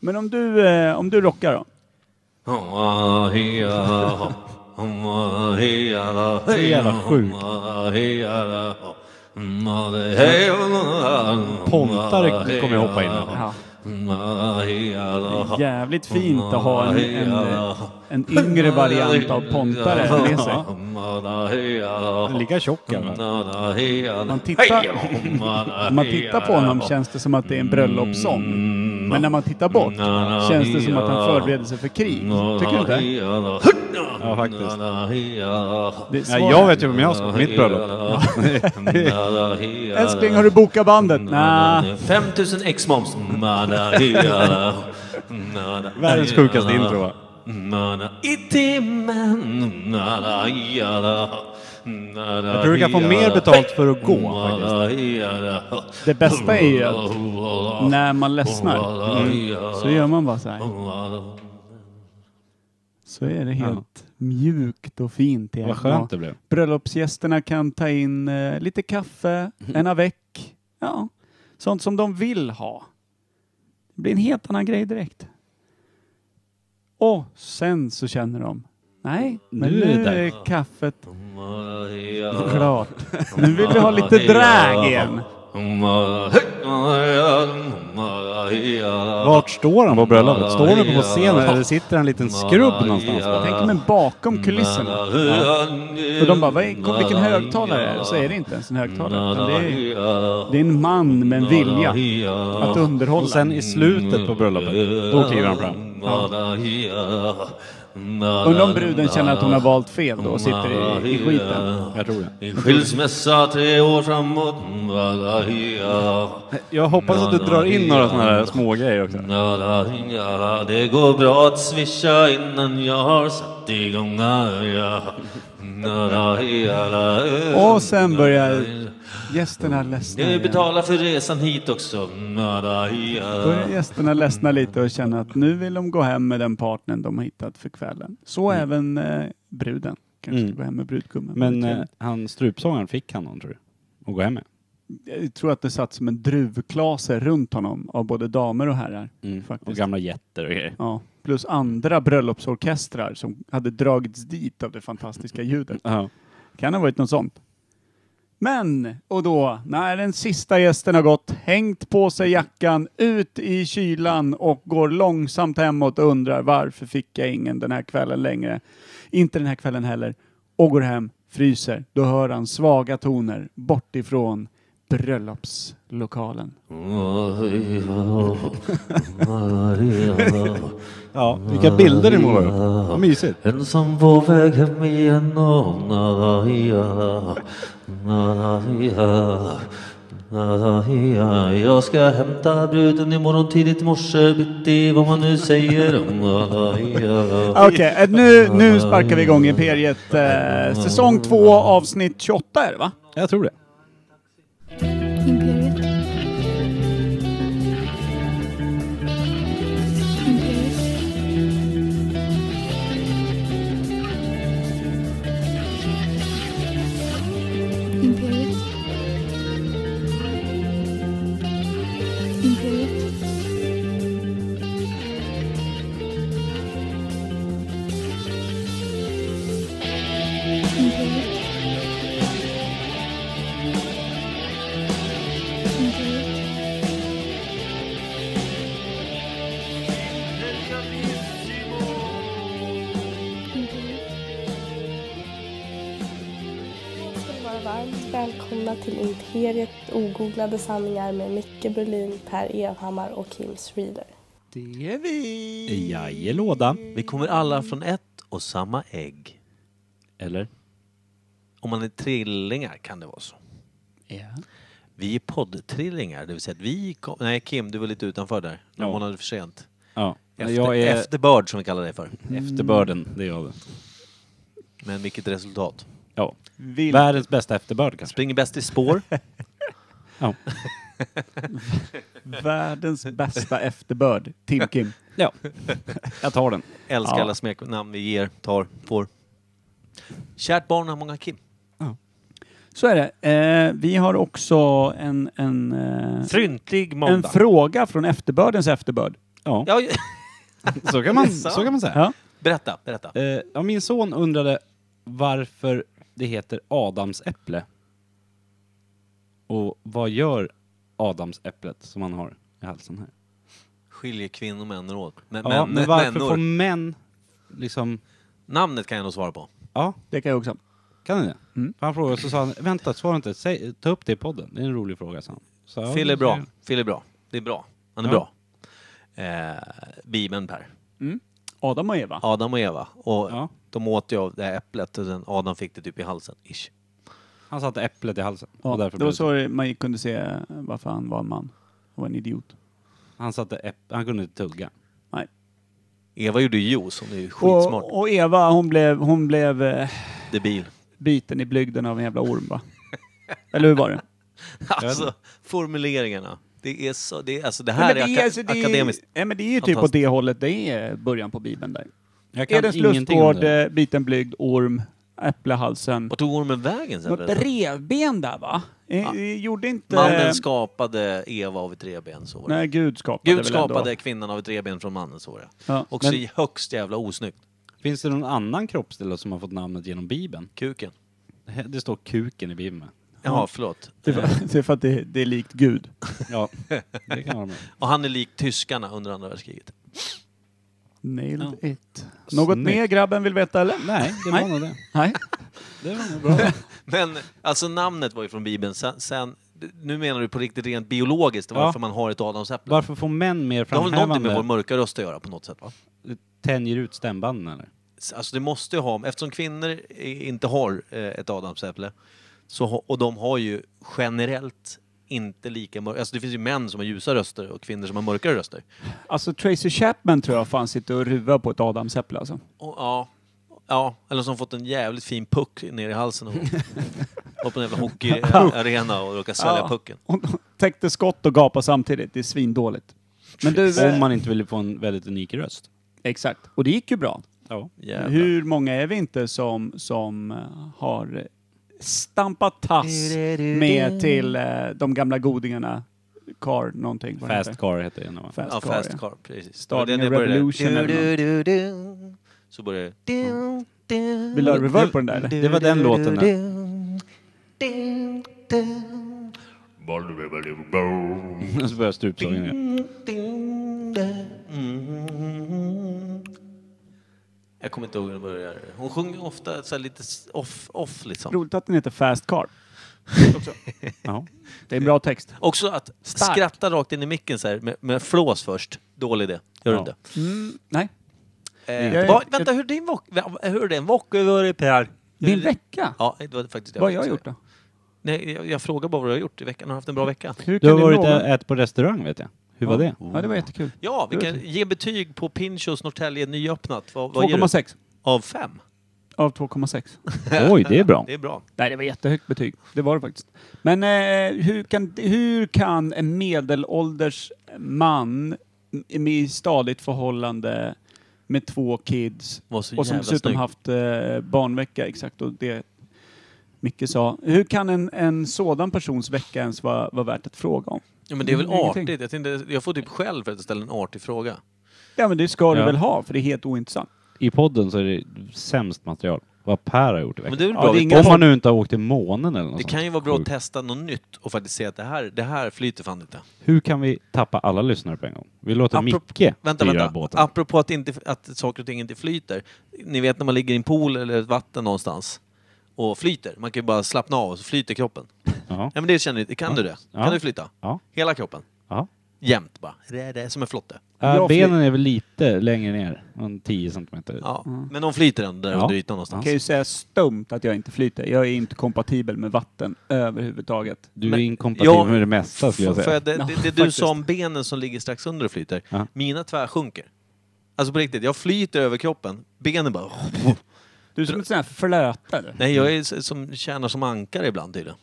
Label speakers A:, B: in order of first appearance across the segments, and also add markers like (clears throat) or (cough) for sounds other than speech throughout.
A: Men om du, eh, om du rockar då?
B: Så
A: jävla sjukt.
B: Pontare kommer jag hoppa in.
A: Ja. Jävligt fint att ha en, en, eh, en yngre variant av pontare med sig.
B: sig.
C: Lika tjock i alla
B: Mm.
C: fall.
A: Man tittar, om man tittar på honom känns det som att det är en bröllopssång. Men när man tittar bort
B: Mm.
A: känns det som att han förbereder sig för krig. Tycker du inte?
B: Ja, faktiskt.
A: Det är
C: Ja,
A: svårt.
C: jag vet ju vem jag ska på mitt bröllop.
A: Älskling, har du bokat
B: Mm,
A: bandet? Nej.
B: 5000 ex moms. Mm,
C: Världens sjukaste intro va?
B: I timmen. Mm, Jag
C: tror du kan få mer betalt för att
B: Mm,
C: gå,
B: faktiskt.
A: Det bästa är ju att
B: Mm,
A: när man ledsnar så gör man bara så här.
B: Mm,
A: Så är det helt mjukt och fint. i
C: Vad
A: en
C: skönt
A: mat.
C: det blev.
A: Bröllopsgästerna kan ta in eh, lite kaffe,
C: Mhm.
A: en avec. Ja, sånt som de vill ha. Det blir en helt annan grej direkt. Och sen så känner de, nej, men
C: Nu
A: nu
C: är det
A: är,
C: dags.
A: kaffet
B: Mm,
A: (laughs) klart.
C: (laughs)
A: Nu vill vi ha lite drag igen.
C: Vart står han på bröllopet? Står han uppe på scenen eller sitter han en liten skrubb någonstans? va?
A: Tänk men bakom kulisserna. Och de bara, vad är, vilken högtalare är det? Så är det inte ens en högtalare. Utan det, är, det är en man med en vilja att underhålla.
C: Och sen i slutet på bröllopet, då kliver han fram.
A: Undrar om bruden känner att hon har valt fel då och sitter i, i skiten.
C: Jag tror det.
B: En skilsmässa tre år framåt.
C: Jag hoppas att du drar in några sådana här små grejer också.
B: Det går bra att swisha innan jag har satt igång.
A: Och sen börjar gästerna ledsna
B: Du
A: igen.
B: betalar för resan hit också.
A: Börjar gästerna ledsna lite och känna att nu vill de gå hem med den partnern de har hittat för kvällen. Så även eh, bruden. Kanske
C: Mm.
A: gå hem med brudgummen.
C: Men eh, han strupsångaren, fick han någon tror du? Att gå hem med?
A: Jag tror att det satt som en druvklase runt honom av både damer och herrar.
C: Mm. Och
A: Faktiskt.
C: gamla jätter och grejer.
A: Ja, plus andra bröllopsorkestrar som hade dragits dit av det fantastiska ljudet.
C: Ja.
A: Kan ha varit något sånt. Men, och då, när den sista gästen har gått, hängt på sig jackan, ut i kylan och går långsamt hemåt och undrar varför fick jag ingen den här kvällen längre? Inte den här kvällen heller. Och går hem, fryser. Då hör han svaga toner bortifrån bröllopslokalen.
C: ja, vilka bilder ni målar upp. Vad mysigt.
B: Ensam på väg hem igen och naraia, naraia, naraia. Jag ska hämta bruden imorgon tidigt morse bitti vad man nu säger om naraia.
A: Okej, eh, nu, nu sparkar vi igång Imperiet. Eh, säsong 2 avsnitt 28 är det va?
C: Jag tror det.
D: Imperiet. Imperiet. Imperiet. Imperiet. Imperiet. Imperiet.
E: ska ni vara varmt välkomna till Imperiet ogooglade sanningar med Micke Berlin, Per Evhammar och Kim Schreeder.
A: Det är vi!
C: Jajelåda.
B: Vi kommer alla från ett och samma ägg.
C: Eller?
B: Om man är trillingar kan det vara så. Vi är poddtrillingar, det vill säga att vi kom... Nej Kim, du var lite utanför där. Någon
C: Ja.
B: månad för sent.
C: Ja.
B: Efter,
C: jag är
B: Efterbörd som vi kallar det för.
C: efterbörden, det är jag.
B: Men vilket resultat.
C: Ja.
A: Vill-
C: Världens bästa efterbörd kanske.
B: Springer bäst i spår.
C: Ja.
A: Världens bästa efterbörd, Tim Kim.
C: (laughs) ja. Jag tar den.
B: Älskar
A: Ja.
B: alla smeknamn vi ger, tar, får. Kärt barn har många Kim.
A: Så är det. Eh, vi har också en, en, eh,
B: Fryntlig måndag.
A: en fråga från efterbördens efterbörd.
C: Ja,
F: Ja, (laughs)
C: så, kan (laughs) man,
F: sant.
C: så kan man säga.
A: Ja.
F: berätta, berätta.
C: Eh, ja, min son undrade varför det heter adamsäpple. Och vad gör adamsäpplet som han har i halsen här?
F: Skiljer kvinnor och män åt. Men,
C: Ja,
F: men,
C: men, varför
F: männor.
C: får män liksom...
F: Namnet kan jag nog svara på.
C: Ja,
A: Det kan jag också.
C: kan ni det?
A: Mm.
C: För Han frågade och så sa han, vänta, svara inte, Säg, ta upp det i podden. Det är en rolig fråga, sa han. Så, ja,
F: Phil är
C: då
F: bra.
C: säger
F: Phil är bra. Det är bra. Han är
C: Ja.
F: bra. Eh, Bibeln Per.
A: Adam och Eva.
F: Adam och Eva. Och
C: Ja.
F: de åt ju av det här äpplet och sen Adam fick det typ i halsen. Ish.
C: Han satte äpplet i halsen.
A: Ja,
C: och därför
A: det
C: blev
A: var
C: det så.
A: så man kunde se varför han var en man. Han var en idiot.
C: Han, satte äpp- han kunde inte tugga.
A: Nej.
F: Eva gjorde ju juice. Hon är ju skitsmart.
A: Och, och Eva, hon blev, hon blev eh,
F: Debil.
A: biten i blygden av en jävla orm
C: (laughs)
A: va? Eller hur var det?
F: (laughs) Alltså formuleringarna. Det är så, det är, alltså det här
A: men
F: är,
A: det,
F: aka-
A: alltså, det,
F: akademiskt.
A: Är, ja, men det är ju typ åt
F: Fantastiskt.
A: det hållet det är början på Bibeln där.
C: Jag kan
A: Edens
C: ingenting om
A: lustgård,
C: det.
A: eh, biten blygd, orm, äpplehalsen.
F: Vart tog ormen vägen sen?
A: Något revben där va? Eh, eh, Gjorde inte...
F: Mannen skapade Eva av ett revben, så var det.
A: Nej, Gud skapade
F: Gud
A: väl
F: skapade
A: ändå.
F: kvinnan av ett revben från mannen, så var det.
A: Ja,
F: Också
A: men-
F: i högst jävla osnyggt.
C: Finns det någon annan kroppsdel som har fått namnet genom Bibeln?
F: Kuken.
C: Det står kuken i Bibeln. med.
F: Ja, förlåt.
A: (laughs) Det är för, det är för att det, det är likt Gud.
C: (laughs) Ja, det kan vara med.
F: Och han är lik tyskarna under andra världskriget.
A: Nailed it. Något
C: Snyggt.
A: mer grabben vill veta eller?
C: Nej, det var nog det.
A: Nej.
C: Det var nog bra.
F: Men alltså namnet var ju från Bibeln. Sen, sen, nu menar du på riktigt rent biologiskt
C: Ja.
F: varför man har ett adamsäpple.
C: Varför får män mer
F: det har väl någonting med vår
C: framhävande?
F: mörka röst att göra på något sätt va?
C: Tänjer ut stämbanden eller?
F: Alltså det måste ju ha, eftersom kvinnor i- inte har eh, ett adamsäpple så, ha- och de har ju generellt inte lika mörka, alltså det finns ju män som har ljusa röster och kvinnor som har mörkare röster.
A: Alltså Tracy Chapman tror jag fan sitter och ruvar på ett adamsäpple alltså.
F: Och, ja, ja, eller som fått en jävligt fin puck ner
A: (laughs)
F: i halsen och var på en jävla hockeyarena och råkade svälja
A: Ja.
F: pucken.
A: Hon täckte skott och gapade samtidigt. Det är svindåligt. Men du, eh,
C: Om man inte vill få en väldigt unik röst.
A: Exakt. Och det gick ju bra.
C: Ja.
F: Jävlar.
A: Hur många är vi inte som, som eh, har stampat tass med till eh, de gamla godingarna? Car någonting. vad
C: Fast
A: heter
C: car heter det. va?
A: det? Fast
F: Ja,
A: Car.
F: Fast Car, precis.
A: Starting
F: Det var
A: a
F: det jag
A: revolution
F: började.
A: eller
F: Du, du, du, du. Så börjar det. Du, du,
A: Mm. Vill du ha reverb på den där? eller?
C: Det var den låten
F: du,
C: där.
F: du, du,
C: Och (laughs) så börjar strupsången igen.
F: du, du. Mm. Jag kommer inte ihåg hur den börjar. Hon sjunger ofta så här lite s- off, off liksom.
A: Roligt att den heter Fast
F: (laughs)
A: Car. Också.
C: Ja.
A: Det är en bra text.
F: Också att
A: Stark.
F: skratta rakt in i micken så här med, med flås först. Dålig idé. Gör du
C: Ja.
F: inte?
A: Mm, nej.
F: Eh,
A: Jag-
F: vad- vänta, hur din vock... Hur är din vock? Hur är det Per?
A: Min vecka?
F: Ja, det var faktiskt det
A: Vad har jag
F: tänkte
A: gjort
F: säga.
A: då?
F: Nej, jag, jag frågar bara vad du har gjort i veckan. Har du haft en bra vecka?
A: Hur
C: Du
A: kan
C: har
A: ni
C: varit
A: fråga?
C: och ätit på restaurang vet jag. Hur var det?
A: Ja, det var jättekul.
F: Ja, vi kan ge betyg på Pinchos Norrtälje nyöppnat. Vad, vad ger du?
A: 2,6
F: Av fem?
A: av 2,6.
C: Oj, det är bra.
F: (laughs) Det är bra.
A: Nej, det var jättehögt betyg. Det var det faktiskt. Men eh, hur, kan, hur kan en medelålders man m- i stadigt förhållande med två kids
F: Var så
A: och som
F: jävla
A: dessutom
F: snygg.
A: haft eh, barnvecka, exakt, och det Micke sa. Hur kan en, en sådan persons vecka ens vara, vara värt att fråga om?
F: Ja, men det är väl
A: Ingenting.
F: artigt? Jag, tänkte, jag får typ skäll för att jag ställer en artig fråga.
A: Ja, men det ska du
C: Ja.
A: väl ha, för det är helt ointressant.
C: I podden så är det sämst material. Vad Per har gjort i
F: Men
C: veckan.
F: det är väl
A: Ja,
F: bra?
A: det är
F: Vi-
A: ingen-
C: Om man nu inte har åkt till månen eller något
F: Det
C: sånt
F: kan ju vara bra att
C: sjukt.
F: testa något nytt och faktiskt se att det här, det här flyter fan inte.
C: Hur kan vi tappa alla lyssnare på en gång? Vi låter Micke
F: vänta,
C: styra
F: vänta.
C: båten.
F: Apropå att, inte, att saker och ting inte flyter. Ni vet när man ligger i en pool eller ett vatten någonstans och flyter. Man kan ju bara slappna av och så flyter kroppen.
C: Ja.
F: Ja, men det känner ni. Kan du det?
C: Ja.
F: Kan du flyta?
C: Ja.
F: Hela kroppen?
C: ja.
F: Jämt bara. Det är det som en flotte.
C: Äh,
A: Jag fly-
C: benen är väl lite längre ner, en 10 centimeter.
F: Ja. Men de flyter ändå där
C: Ja.
F: under ytan någonstans.
A: Jag kan ju säga stumt att jag inte flyter. Jag är inte kompatibel med vatten överhuvudtaget.
C: Du
F: Men-
C: är inkompatibel
F: Ja,
C: med det mesta skulle jag
F: Får- får
C: säga.
F: det, det, det du
A: faktiskt.
F: sa om benen som ligger strax under och flyter.
C: Ja.
F: Mina tvärsjunker. Alltså på riktigt, jag flyter över kroppen. Benen bara...
A: Du är som en sån här flötare.
F: Nej, jag är s- som, tjänar som ankare ibland tydligen.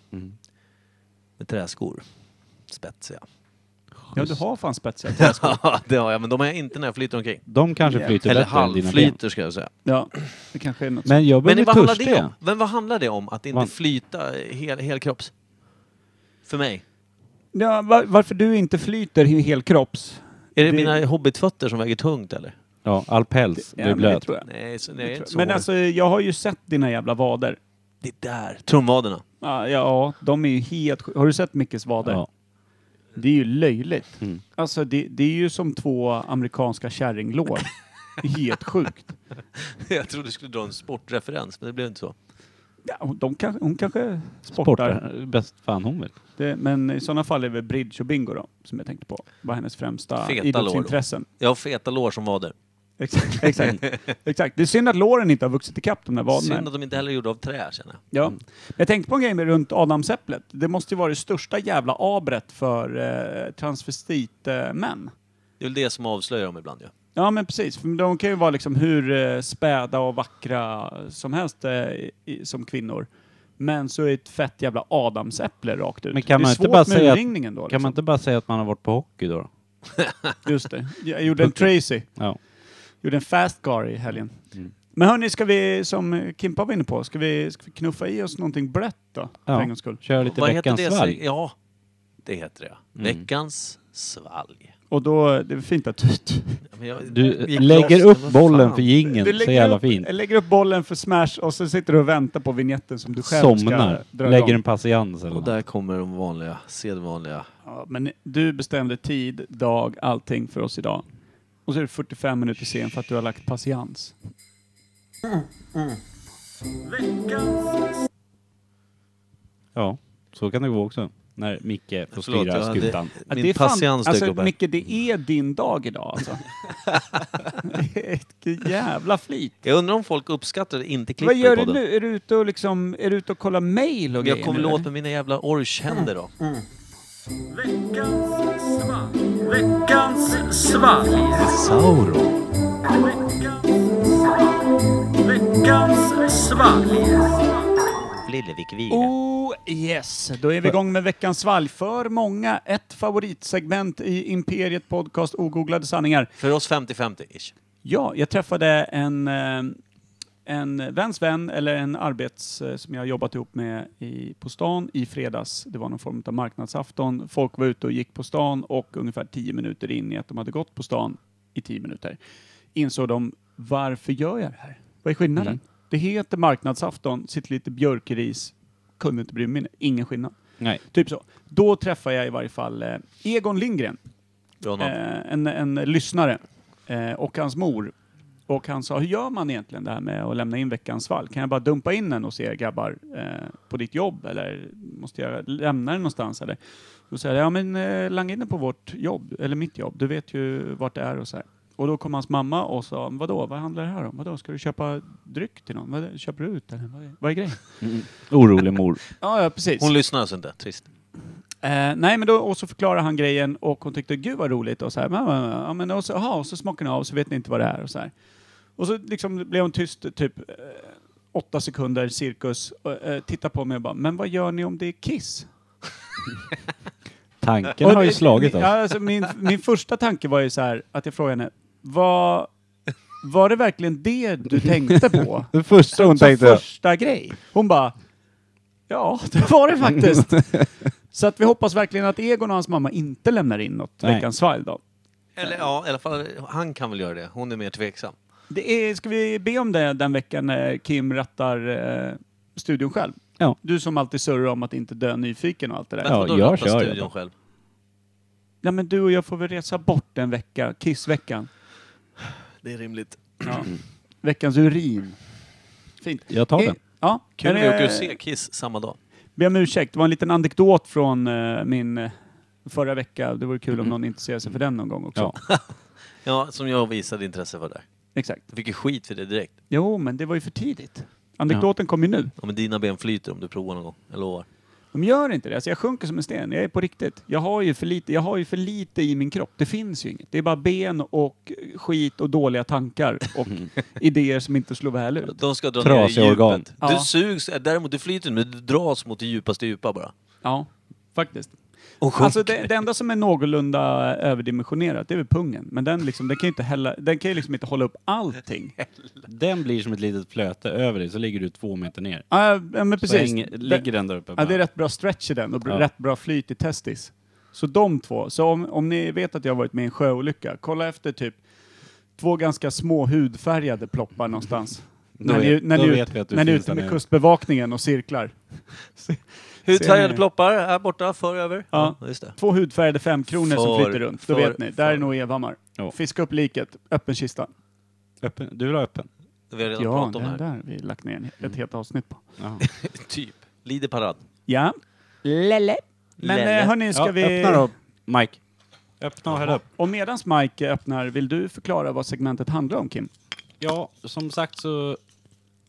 F: Med träskor. Spetsiga.
A: Ja, du har fan spetsiga
F: Ja, det har jag, men de har jag inte när jag flyter omkring.
C: De kanske
A: Ja.
C: flyter
F: Eller
C: bättre än dina ben.
F: halvflyter ska jag säga.
A: Ja, det kanske är något
C: Men jag börjar
F: Men
C: bli
F: vad handlar, det
C: törstig.
F: om? men vad handlar det om? Att inte
C: Man-
F: flyta eh, hel, helkropps? För mig?
A: Ja, var, varför du inte flyter i helkropps
F: Är det,
A: Det-
F: mina hobbitfötter som väger tungt eller?
B: Ja, all päls
A: Ja,
B: blir
A: men det
B: blöt.
A: tror jag.
F: Nej, så, nej
A: Det
F: inte
A: tror
F: så
A: jag. Men
F: hård.
A: alltså, jag har ju sett dina jävla vader.
F: Det där, trumvaderna. (laughs)
A: Ja, ja, de är ju helt sj- Har du sett Mickes vader?
B: Ja.
A: Det är ju löjligt.
B: Mm.
A: Alltså det, det är ju som två amerikanska kärringlår. Det är helt sjukt.
F: jag trodde du skulle dra en sportreferens, men det blev inte så.
A: Ja, hon- de kan, hon kanske sportar.
B: Sportar. Bäst fan hon vill.
A: Det, men i sådana fall är det väl bridge och bingo då, som jag tänkte på. var hennes främsta
F: Feta lår då.
A: idrottsintressen.
F: Jag har feta lår som vader.
A: Exakt,
F: (laughs)
A: exakt, exakt. Det är synd att låren inte har vuxit ikapp de där
F: Synd
A: vaderna.
F: att de inte heller är gjorda av trä känner jag.
A: Ja. Mm. Jag tänkte på en grej med runt Adamsäpplet. Det måste ju vara det största jävla abret för eh, transvestitmän. Eh, män.
F: Det är väl det som avslöjar dem ibland ju.
A: Ja men precis, för de kan ju vara liksom hur eh, späda och vackra som helst eh, i, som kvinnor. Men så är ett fett jävla adamsäpple rakt ut.
B: Men kan
A: det är
B: man
A: svårt
B: inte bara
A: med
B: säga att-
A: urringningen då.
B: Kan man
A: liksom.
B: inte bara säga att man har varit på hockey då?
A: Just det. Jag gjorde en Tracy,
B: Ja.
A: gjorde en fast car i helgen.
B: Mm.
A: Men hörni, ska vi, som eh, Kimpa var inne på, ska vi, ska vi knuffa i oss någonting brett då? För
B: Ja.
A: en gångs skull.
B: Kör lite
F: Vad
B: veckans
F: heter det? säger-
B: svalg. Mm.
F: Ja, det heter det. Veckans svalg.
A: Och då, det är fint att du...
F: Ja, men jag-
B: Du
F: jag gick
B: lägger
F: loss, men
B: upp
F: vad
B: bollen
F: fan.
B: för jingeln så jävla fint.
A: Upp, lägger upp bollen för smash och så sitter du och väntar på vignetten som du själv
B: Somnar.
A: ska dra
B: Lägger
A: igång.
B: en patiens eller
F: Och
B: något.
F: där kommer de vanliga, sedvanliga.
A: Ja, men du bestämde tid, dag, allting för oss idag. Och så är du 45 minuter sen för att du har lagt patiens.
B: Ja, så kan det gå också. När Micke får
F: Förlåt, jag
B: styra
F: hade-
B: skutan.
A: Ja,
F: Min patiens dök
A: alltså,
F: upp här.
A: Micke, det är din dag idag alltså. (laughs) Det är Ett jävla flit.
F: Jag undrar om folk uppskattar det, inte klipper
A: Vad gör
F: på
A: du
F: den.
A: nu? Är du ute och, liksom, är du ute och kollar mail och
F: Men jag
A: grejer
F: kommer
A: nu,
F: väl åt
A: eller?
F: med mina jävla orchhänder då. Sauron. Lillevik Vire.
A: Oh yes, då är vi igång med veckans svalg. För många, ett favoritsegment i Imperiet Podcast Ogooglade sanningar.
F: För oss 50-50-ish.
A: Ja, jag träffade en, eh, en väns vän, eller en arbets eh, som jag har jobbat ihop med i, på stan i fredags. Det var någon form av marknadsafton. Folk var ute och gick på stan och ungefär 10 minuter in i att de hade gått på stan i 10 minuter insåg de, varför gör jag det här? Vad är skillnaden? Det heter marknadsafton, sitter lite björkeris, kunde inte bry mig, ingen skillnad.
B: Nej.
A: Typ så. Då träffar jag i varje fall eh, Egon Lindgren,
F: Bra namn.
A: eh, en, en lyssnare eh, och hans mor. Och han sa, hur gör man egentligen det här med att lämna in veckans fall? Kan jag bara dumpa in den och se grabbar eh, på ditt jobb eller måste jag lämna den någonstans? Eller? Då säger jag, ja men eh, langa in den på vårt jobb, eller mitt jobb, du vet ju vart det är och så här. Och då kom hans mamma och sa, vadå, vad handlar det här om? Vadå, ska du köpa dryck till någon? Vad, köper du ut eller? Vad är, vad är grejen?
B: Mm. Orolig mor.
A: Ja, ja precis.
F: Hon lyssnar alltså inte, trist.
A: Eh, nej, men då, och så förklarade han grejen och hon tyckte gud vad roligt och så här, "Men, men, men, ja, men, och så, aha, och så smakar ni av så vet ni inte vad det är och så här. Och så liksom blev hon tyst typ eh, åtta sekunder cirkus, och, eh, tittar på mig och bara, men vad gör ni om det är kiss?
B: Tanken
A: Och
B: har ju
A: det-
B: slagit
A: min-
B: oss.
A: ja, alltså, min, min första tanke var ju så här, att jag frågade henne, var, var det verkligen det du tänkte på?
B: Det första hon
A: som första grej. Hon bara, ja (laughs) det var det
B: (laughs)
A: faktiskt. Så att vi hoppas verkligen att Egon och hans mamma inte lämnar in något
B: Nej.
A: veckans svalg då.
F: Eller ja, i alla fall han kan väl göra det. Hon är mer tveksam.
A: Det är, ska vi be om det den veckan när Kim rattar eh, studion själv?
B: Ja.
A: Du som alltid surrar om att inte dö nyfiken och allt det där.
F: Men
B: Ja.
F: vadå,
B: jag
F: ratta
B: kör ju
F: studion
B: då.
F: själv.
A: Nej men du och jag får väl resa bort en vecka, kissveckan.
F: Det är rimligt.
A: Ja. Veckans urin. Fint.
B: Jag tar
A: Eh,
B: den.
A: Ja,
F: Kul om
A: men,
F: vi åker och
A: eh,
F: ser Kiss samma dag.
A: Be om ursäkt, det var en liten anekdot från eh, min eh, förra vecka. Det vore kul om någon intresserar sig för den någon gång också.
B: Ja.
F: Mm-hmm. Ja, som jag visade intresse för där.
A: (laughs) Exakt.
F: Jag fick ju skit för det direkt.
A: Jo, men det var ju för tidigt. Anekdoten kom ju nu.
F: Ja, men dina ben flyter om du provar någon gång, jag lovar.
A: De gör inte det. Alltså jag sjunker som en sten. Jag är på riktigt. Jag har ju för lite, jag har ju för lite i min kropp. Det finns ju inget. Det är bara ben och skit och dåliga tankar och
F: Mm.
A: (laughs) idéer som inte slår väl ut.
F: De ska dra ner i
B: Trasiga
F: djupet.
B: organ.
A: Ja.
F: Du sugs, eh, däremot du flyter inte, men du dras mot det djupaste djupa bara.
A: Ja, faktiskt.
F: Och sjunker.
A: Alltså det, det enda som är någorlunda överdimensionerat, det är väl pungen. Men den, liksom, den kan ju inte, hälla, den kan ju liksom inte hålla upp allting.
B: Den blir som ett litet flöte över dig, så ligger du två meter ner.
A: Ja, ja, men
B: Så
A: precis.
B: hänger- ligger den där uppe.
A: Ja, det är rätt bra stretch i den och br-
B: Ja.
A: rätt bra flyt i testis. Så de två. Så om, om ni vet att jag har varit med i en sjöolycka, kolla efter typ två ganska små hudfärgade ploppar någonstans.
C: (laughs) Då
A: när ni,
C: vet-
A: när
C: då
A: ni,
C: vet vi att
A: ut,
C: du
A: när ni är
C: finns
A: ute
C: där
A: med
C: nere.
A: kustbevakningen och
C: (laughs)
A: cirklar.
F: Hudfärgade
A: ni?
F: ploppar här borta, för över.
A: Ja.
F: just det.
A: Två hudfärgade femkronor som
F: För-
A: flyter runt. Då
F: för-
A: vet ni, där är
F: för.
A: nog Evhammar.
C: Ja.
A: Fiska upp liket, öppen kista.
C: Öppen. Du vill ha öppen?
F: Vi har redan
A: Ja,
F: pratat om det
A: den
F: här.
A: där vi lagt ner ett
C: Mm.
A: helt avsnitt på.
C: Ja.
F: (laughs) Typ. Lider parad.
A: Ja. Lelle. Men
F: Lelle.
A: eh, hörni, ska
C: ja,
A: vi...
C: Öppna då, Mike. Öppna och häll upp.
A: Och medans Mike öppnar, vill du förklara vad segmentet handlar om Kim?
C: Ja, som sagt så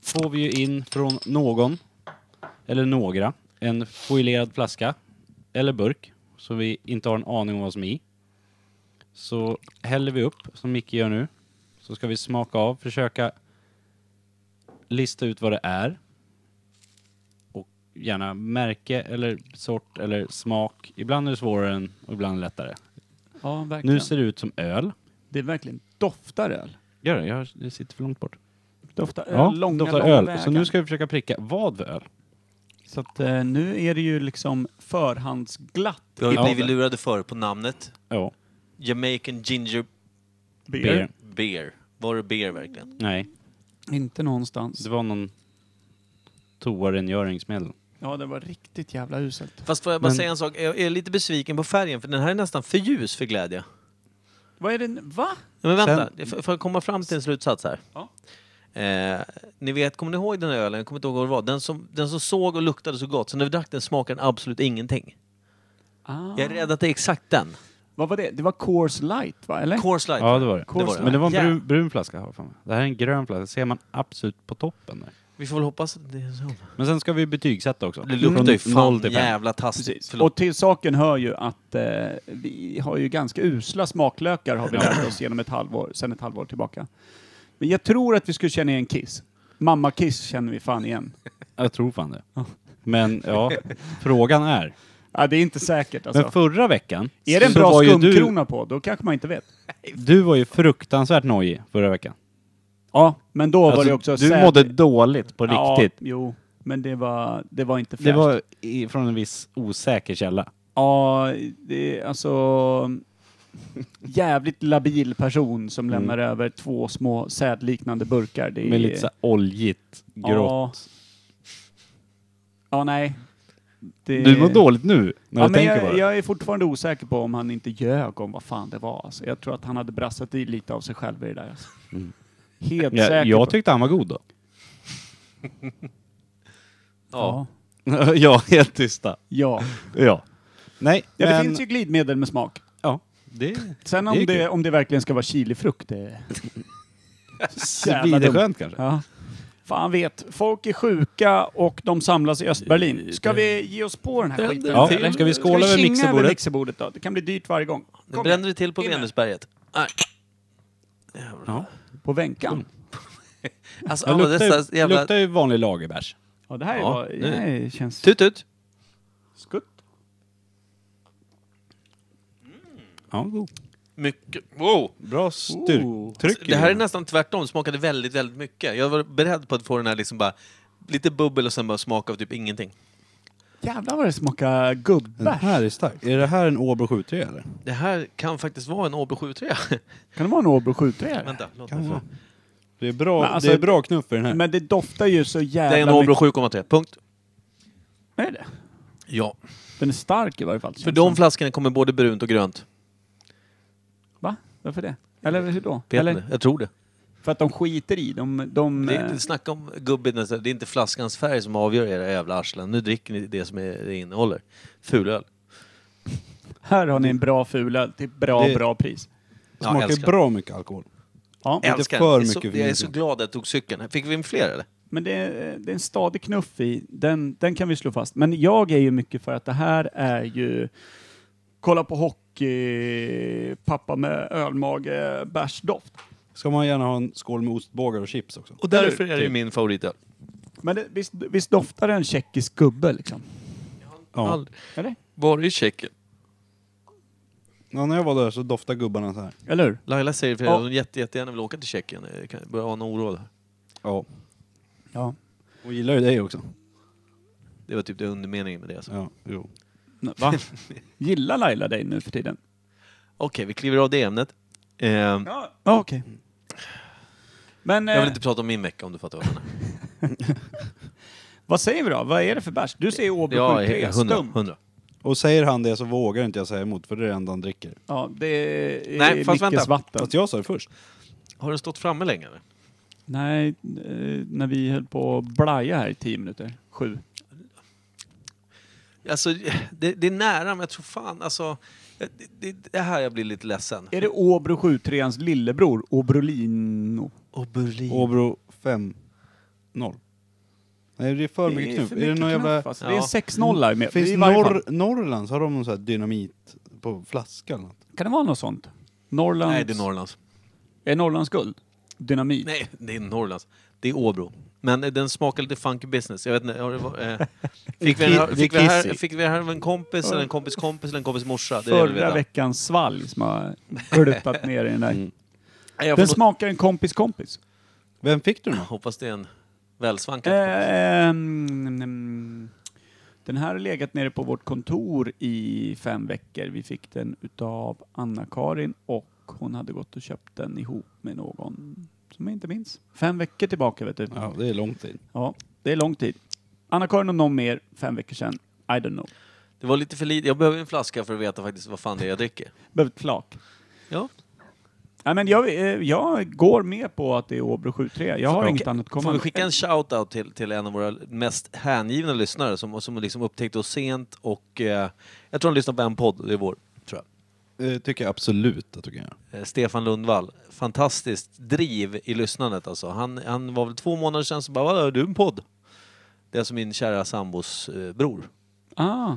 C: får vi ju in från någon, eller några, en foilerad flaska eller burk som vi inte har en aning om vad som är i. Så häller vi upp, som Micke gör nu, så ska vi smaka av, försöka lista ut vad det är. Och gärna märke eller sort eller smak. Ibland är det svårare än, och ibland lättare.
A: Ja, verkligen.
C: Nu ser det ut som öl.
A: Det är verkligen doftar öl.
C: Gör det, jag det sitter för långt bort.
A: Doftar öl
C: Ja,
A: långa,
C: doftar
A: långa
C: öl.
A: vägar.
C: Så nu ska vi försöka pricka vad för öl.
A: Så att, eh, nu är det ju liksom förhandsglatt
F: Vi har ju
C: Ja.
F: blivit lurade förr på namnet.
C: Ja,
F: Jamaican Ginger
A: beer.
C: beer.
F: Beer. Var det beer verkligen?
C: Nej,
A: Inte någonstans.
C: det var någon toarengöringsmedel.
A: Ja, det var riktigt jävla uselt.
F: Fast får jag bara
C: Men-
F: säga en sak? Jag är lite besviken på färgen för den här är nästan för ljus för glädje.
A: Vad är det nu? Va?
F: Ja, Men vänta,
C: Sen-
F: det- får- får jag komma fram till en slutsats här?
A: Ja.
F: Eh, ni vet, kommer ni ihåg den här ölen? Jag kommer inte ihåg vad det var. Den som, den som såg och luktade så gott, så när vi drack den smakade den absolut ingenting.
A: Ah.
F: Jag är rädd att det är exakt den.
A: Vad var det? Det var Coors Light va? Eller?
F: Coors Light.
C: Ja, det var det.
F: Det var det.
C: Men det var en
F: Ja.
C: brun, brun flaska. har jag för mig. Det här är en grön flaska. Det ser man absolut på toppen där.
F: Vi får väl hoppas att det är så. Mm.
C: Men sen ska vi betygsätta också.
F: Det luktar ju
C: Från
F: fan
C: noll till fem.
F: jävla taskigt.
A: Precis.
F: Förlåt.
A: Och till saken hör ju att eh, vi har ju ganska usla smaklökar
C: (clears throat)
A: har vi lärt oss genom ett halvår, sen ett halvår tillbaka. Men jag tror att vi skulle känna igen Kiss. Mamma Kiss känner vi fan igen.
C: Jag tror fan det. Men
A: (laughs)
C: ja, frågan är.
A: Ja, det är inte säkert
C: Men
A: alltså.
C: förra veckan
A: Är det en
C: så
A: bra
C: var ju
A: skumkrona på, då kanske man inte vet.
C: Du, du var ju fruktansvärt nojig förra veckan.
A: Ja, men då var
C: Alltså,
A: det också
C: du
A: säd-
C: mådde dåligt på
A: ja,
C: riktigt.
A: Jo, men det var, det var inte fräscht.
C: Det var i, från en viss osäker källa.
A: Ja, det är alltså... Jävligt labil person som lämnar över två små sädliknande burkar. Det är,
C: Mm. Med lite så här oljigt,
A: Ja.
C: grått.
A: Ja, nej. Det-
C: Du mår dåligt nu när
A: Ja, men
C: du tänker på
A: jag,
C: det.
A: jag är fortfarande osäker på om han inte ljög om vad fan det var. Alltså, jag tror att han hade brassat i lite av sig själv i det där. Alltså. Helt
C: Mm. Ja,
A: säker.
C: jag
A: på-
C: tyckte han var god då.
A: (laughs) ja.
C: ja, helt tysta.
A: Ja.
C: Ja. Nej,
A: ja, det
C: men...
A: finns ju glidmedel med smak.
C: Ja, det
A: Sen
C: Det
A: om
C: är
A: det,
C: kul.
A: om det verkligen ska vara chilifrukt, det... Jävla
C: är
A: dumt.
C: skönt kanske.
A: Ja. Fan vet, folk är sjuka och de samlas i Östberlin. Ska vi ge oss på den här skiten?
C: Ja,
A: eller?
C: ska vi skåla över
A: kinga
C: mixerbordet?
A: mixerbordet då? Det kan bli dyrt varje gång.
F: Nu
A: Kom
F: bränner
A: igen.
F: det till på
A: In med.
F: Venusberget. Nej.
A: På
F: Mm.
A: vänkan.
F: Alltså
C: Jag
F: alla
C: luktar, ju-
F: dessa jävla...
C: luktar ju vanlig lagerbärs.
A: Ja, det här
F: Ja,
A: var,
F: nu.
A: det här känns...
F: Tut tut!
A: Skutt.
C: Ja, god.
F: Mycket. Wow!
C: Bra styrktryck. i
F: Det här är
C: den.
F: nästan tvärtom, det smakade väldigt, väldigt mycket. Jag var beredd på att få den här liksom bara lite bubbel och sen bara smaka av typ ingenting.
A: Jävlar vad det smakar
C: Den
A: gubbärs.
C: här är stark. Är det här en Åbro 73 eller?
F: Det här kan faktiskt vara en Åbo 73.
A: Kan det vara en Åbro 73?
F: (laughs) Vänta, låt
C: Kan
F: mig få.
C: vara. Det är bra,
A: Men alltså-
C: det är bra knuff i den här.
A: Men det doftar ju så jävla
F: Det är en Åbro 7,3, punkt.
A: mycket. Är det?
F: Ja.
A: Den är stark i varje fall.
F: För
A: känns
F: de
A: det.
F: flaskorna kommer både brunt och grönt.
A: Va? Varför det? Eller hur då?
F: Vet
A: Eller,
F: ni? Jag tror det.
A: för att de skiter i. De, de,
F: Det är
A: eh,
F: inte snacka om gubbigt, det är inte flaskans färg som avgör era jävla arslen. Nu dricker ni det som är- det innehåller. Fulöl.
A: Här har ni en bra fula till bra,
C: Det-
A: bra pris.
F: Ja,
C: Smakar
F: älskar.
C: bra mycket alkohol.
A: Ja,
F: Jag
C: Inte
F: Älskar
C: för
F: den. Jag är så-
C: mycket
F: Jag är
C: vin.
F: så glad att jag tog cykeln. Fick vi in fler eller?
A: men det är, det är en stadig knuff i. Den, den kan vi slå fast. Men jag är ju mycket för att det här är ju... Kolla på hockey, pappa med ölmage, bärsdoft.
C: Ska man gärna ha en skål med ostbågar och chips också.
F: Och därför är det ju min favoritöl.
A: Men det, visst, visst doftar det en tjeckisk gubbe liksom?
C: Ja.
F: Aldrig.
A: Eller?
F: Var i Tjeckien?
C: ja, när jag var där så doftade gubbarna så här.
A: Eller hur?
F: Laila säger för
A: Ja.
F: att hon jätte, jättegärna vill åka till Tjeckien. Jag kan börja ana oråd här.
C: Ja.
A: Ja.
C: Och gillar ju dig också.
F: Det var typ det undermeningen med det. Alltså.
C: Ja, jo.
A: nu.
B: Va?
A: Gillar Laila dig nu för tiden?
F: Okej, vi kliver av det ämnet. Eh,
A: Ja. Okej. Men
F: Jag
A: eh,
F: vill inte prata om min vecka om du fattar vad jag menar.
A: vad säger vi då? Vad är det för bärs? Du säger Åby
F: Ja,
A: 73,
F: 100.
A: stum.
F: 100.
B: Och säger han det så vågar inte jag säga emot för det är det enda han dricker.
A: Ja, det är
F: Nej,
A: Mickes
F: fast vänta.
A: vatten.
B: Fast jag sa det först.
F: Har den stått framme länge eller?
A: Nej, eh, när vi höll på att blaja här i tio minuter. Sju.
F: Alltså, det, det är nära men jag tror fan alltså... Det, det, det här jag blir lite ledsen.
A: Är det Åbro 73ans lillebror, Åbrolino?
F: Och Berlin.
B: Åbro 5-0. Nej det är för mycket knuff. Är det någon jävla...
A: knuff, alltså. Det är
F: Ja.
A: sex nollar med.
B: Finns
A: i varje fall.
B: norr, Norrland så har de någon sån här dynamit på flaska eller något.
A: Kan det vara något sånt? Norrlands...
F: Nej, det är Norrlands.
A: Är Norrlands guld? Dynamit?
F: Nej, det är Norrlands. Det är Åbro. Men eh, den smakar lite funky business. Jag vet inte, har det var,
A: (laughs)
F: eh, fick,
B: Det
F: vi här,
B: är
F: fick, vi här,
B: kissy.
F: fick vi här av en kompis eller en kompis kompis eller en kompis morsa? Det är det jag vill
A: Förra
F: veta.
A: veckans svalg som har (laughs) gluttat ner i den där.
F: Mm. Nej, jag
A: Den
F: får nog-
A: smakar en kompis kompis.
B: Vem fick du den av?
F: Hoppas det är en välsvankad
A: Eh.
F: kompis.
A: Ehm, mm, den här har legat nere på vårt kontor i fem veckor. Vi fick den utav Anna-Karin och hon hade gått och köpt den ihop med någon som jag inte minns. Fem veckor tillbaka vet du.
B: Ja det är lång tid.
A: Ja, det är lång tid. Anna-Karin och någon mer, fem veckor sedan. I don't know.
F: Det var lite för lite. Jag behöver en flaska för att veta faktiskt vad fan det är jag dricker.
A: Behöver ett flak.
F: Ja.
A: Nej, men jag, eh, jag går med på att det är Åbro 73. Jag har
F: Okej.
A: inget annat att komma
F: Får vi
A: med.
F: skicka en shout-out till, till en av våra mest hängivna lyssnare som, som liksom upptäckte oss sent och eh, jag tror han lyssnar på en podd, och det är vår, tror jag.
B: Eh, tycker jag absolut att du kan göra.
F: Eh, Stefan Lundvall. Fantastiskt driv i lyssnandet alltså. Han, han var väl två månader sedan så bara "Vad, har du en podd?” Det är alltså min kära sambos eh, bror.
A: Ah,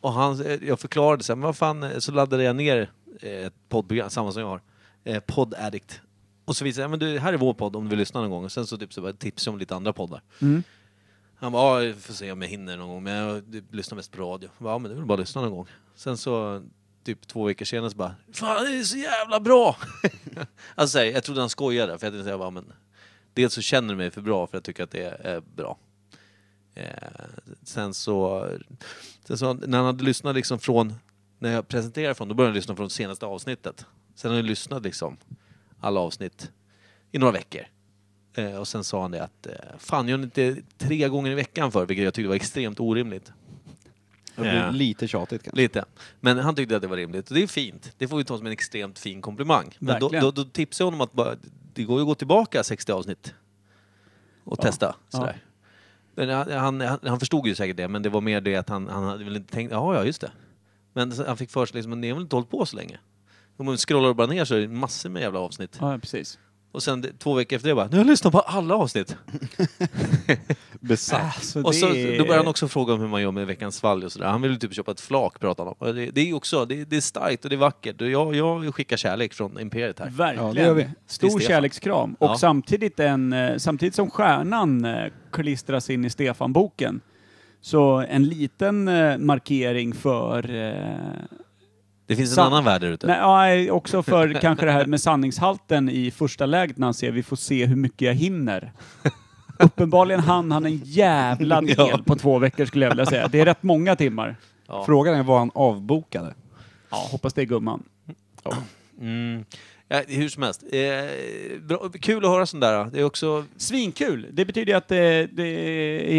F: Och han, eh, jag förklarade så här, men vad fan, eh, så laddade jag ner eh, ett poddprogram, samma som jag har, eh, Podd Addict. Och så visade jag, men du, här är vår podd om du vill lyssna någon gång. Och sen så typ så bara tipsade jag om lite andra poddar.
A: Mm.
F: Han bara, ja, jag får se om jag hinner någon gång, men jag typ lyssnar mest på radio. Jag bara, ja men det är väl bara att lyssna någon gång. Sen så, typ två veckor senare så bara, fan det är så jävla bra! (laughs) alltså jag trodde han skojade, för jag tänkte säga, bara, men dels så känner du mig för bra för jag tycker att det är eh, bra. Eh, sen så, sen så, när han hade lyssnat liksom från, när jag presenterade från, då började han lyssna från senaste avsnittet. Sen har han lyssnat liksom alla avsnitt i några veckor. Eh, och sen sa han det att, eh, fan gör ni inte tre gånger i veckan för vilket jag tyckte var extremt orimligt.
B: Det blir
F: Ja.
B: lite tjatigt kanske.
F: Lite. Men han tyckte att det var rimligt och det är fint. Det får vi ta som en extremt fin komplimang. Men då,
A: Verkligen.
F: då, då tipsade jag honom att bara, det går ju att gå tillbaka 60 avsnitt och testa. Sådär. Men han, han, han- han förstod ju säkert det, men det var mer det att han, han hade väl inte tänkt, ja ja just det. Men så- han fick för sig liksom, men ni har väl inte hållit på så länge? Om man scrollar bara ner så är det massor med jävla avsnitt.
A: ja, precis.
F: Och sen det- två veckor efter det bara, nu har jag lyssnat på alla avsnitt.
B: Besatt.
A: Alltså,
F: Och så, då
A: det är-
F: började han också fråga om hur man gör med veckans svalg och sådär. Han ville typ köpa ett flak, pratade han om. Och Det, det är ju också, det, det är starkt och det är vackert. Och jag, jag skickar kärlek från Imperiet här.
A: Verkligen.
B: Ja, det gör vi.
A: Stor
F: Till Stefan.
A: kärlekskram. Och
F: Ja.
A: samtidigt, en, eh, samtidigt som stjärnan eh, klistras in i Stefan-boken, så en liten eh, markering för... eh,
F: Det finns
A: Sa-
F: en annan värld där ute.
A: Nej, ja, nej, också
F: (laughs)
A: för kanske det här med sanningshalten i första läget när han ser vi får se hur mycket jag hinner. Uppenbarligen hann han en jävla del
F: Ja.
A: på två veckor skulle jag vilja säga. Det är rätt många timmar.
F: Ja.
B: Frågan är vad han avbokade.
A: Ja, hoppas det är gumman.
F: Mm. Ja, hur som helst. Eh, bra, kul att höra sånt där. Det är också...
A: Svinkul! Det betyder ju att det, det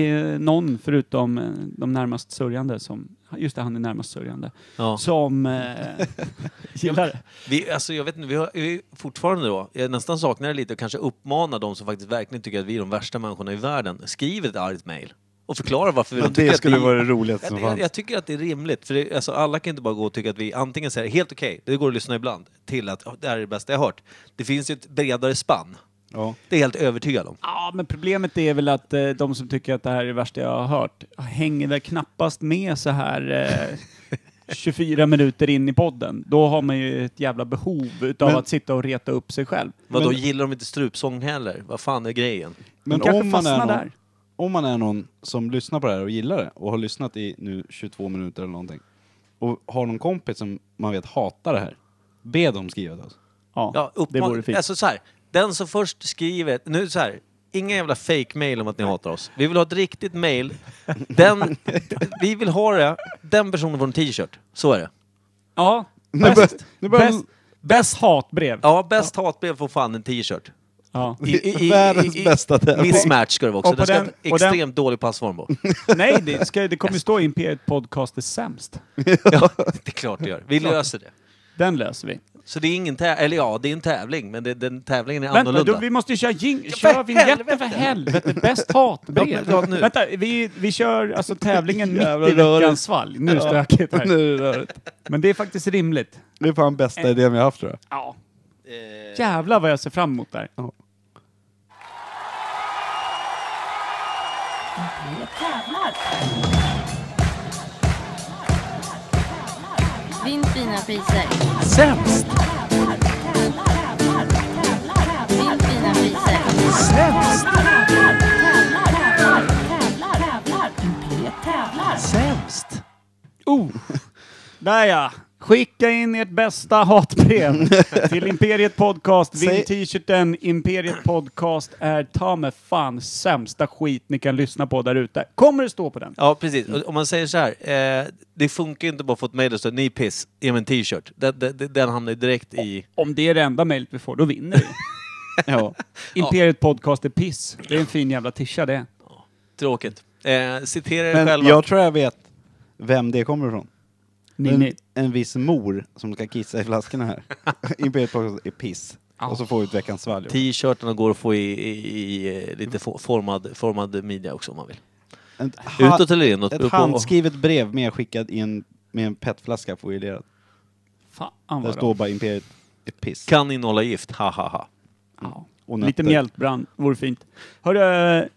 A: är någon förutom eh, de närmast sörjande som, just det, han är närmast sörjande,
F: Ja.
A: som eh, gillar det.
F: Vi, alltså, jag vet inte, vi har vi fortfarande då, jag nästan saknar det lite och kanske uppmanar de som faktiskt verkligen tycker att vi är de värsta människorna i världen. Skriv ett argt mejl och förklara varför de tycker att vi...
B: det roligaste
F: Jag, jag, jag tycker att det är rimligt, för det, alltså, alla kan inte bara gå och tycka att vi antingen säger helt okej, det går att lyssna ibland, till att "Ja, det här är det bästa jag har hört. Det finns ju ett bredare spann.
B: Ja.
F: Det är jag helt övertygad om.
A: Ja, men problemet är väl att eh, de som tycker att det här är det värsta jag har hört hänger väl knappast med så här eh, 24 minuter in i podden. Då har man ju ett jävla behov utav
B: Men-
A: att sitta och reta upp sig själv.
F: Vadå,
B: Men-
F: gillar de inte strupsång heller? Vad fan är grejen?
A: Men
B: Men
A: kanske
B: om man, är
A: fastnar
B: någon,
A: där.
B: om man är någon som lyssnar på det här och gillar det och har lyssnat i nu 22 minuter eller någonting och har någon kompis som man vet hatar det här, be dem skriva till oss.
A: Ja,
F: Ja, Alltså,
A: det
F: uppman-
A: vore fint.
F: Alltså så här, den som först skriver, nu så här, Inga jävla fake mail om att ni hatar oss. Vi vill ha ett riktigt mail.
A: (laughs)
F: Den, vi vill ha det. Den personen får en t-shirt. Så är det.
A: Ja.
C: Nu börjar-
A: Bäst,
C: nu börjar-
A: bäst, bäst hatbrev.
F: Ja, bäst hatbrev får fan en t-shirt.
A: Ja.
F: I- i- i-
C: Världens
F: i- i-
C: bästa tävling.
F: Mismatch ska det vara också.
A: Och på
F: Den ska ha
A: den-
F: en
A: och den-
F: extremt dålig passform
A: (laughs)
F: på.
A: Nej, det, ska, det kommer stå Imperiet Podcast är sämst.
F: Ja, det är klart det gör. Vi löser det.
A: Den löser vi.
F: Så det är ingen tävling, eller ja, det är en tävling, men det, den tävlingen är
A: Vänta,
F: annorlunda.
A: då, vi måste ju köra, jing-
F: Ja, för
A: köra vinjetten för
F: helvete!
A: helvete. Bäst
F: Ja,
A: hatbrev.
F: men, ja, nu.
A: Vänta, vi, vi kör alltså tävlingen mitt
C: Jävla
A: i veckans
C: rörigt.
A: svalg. Nu är det stökigt här.
C: Nu är det rörigt.
A: Men det är faktiskt rimligt.
C: Det är fan bästa idén vi har haft tror jag.
A: Ja. Jävlar vad jag ser fram emot där.
G: Vinn fina priser.
A: Sämst!
G: Vinn fina priser.
A: Sämst! Sämst! Oh! Där ja! Skicka in ert bästa hatbrev till Imperiet Podcast. Vinn
C: Säg-
A: t-shirten Imperiet Podcast är ta med fan sämsta skit ni kan lyssna på där ute. Kommer det stå på den?
F: Ja, precis.
A: Mm.
F: Och Om man säger så här, eh, det funkar ju inte bara att få ett mejl och stå ni är piss, ge mig en t-shirt. Den, den, den hamnar ju direkt i...
A: Om det är det enda mejlet vi får, då vinner vi.
C: (laughs) Ja.
A: Imperiet Podcast är piss. Det är en fin jävla tisha det.
F: Tråkigt. Eh, citera er
C: Men
F: själva.
C: jag tror jag vet vem det kommer ifrån.
A: Ninni.
C: En, en viss mor som ska kissa i flaskorna här. Imperiet Podcast är piss. Och så får vi ett veckans svalg.
F: T-shirtarna går att få i, i, i eh, lite fo- formad, formad media också om man vill.
C: Ett, ha-
F: Utåt eller inåt. beror
C: ett
F: på-
C: handskrivet brev medskickat i en, med en petflaska foilerad.
A: Fan vad
C: Där
A: bra.
C: står bara Imperiet är piss.
F: Kan innehålla gift, ha ha ha.
A: Ja.
C: Och
A: Lite
C: nötter.
A: mjältbrand vore fint. Hörru,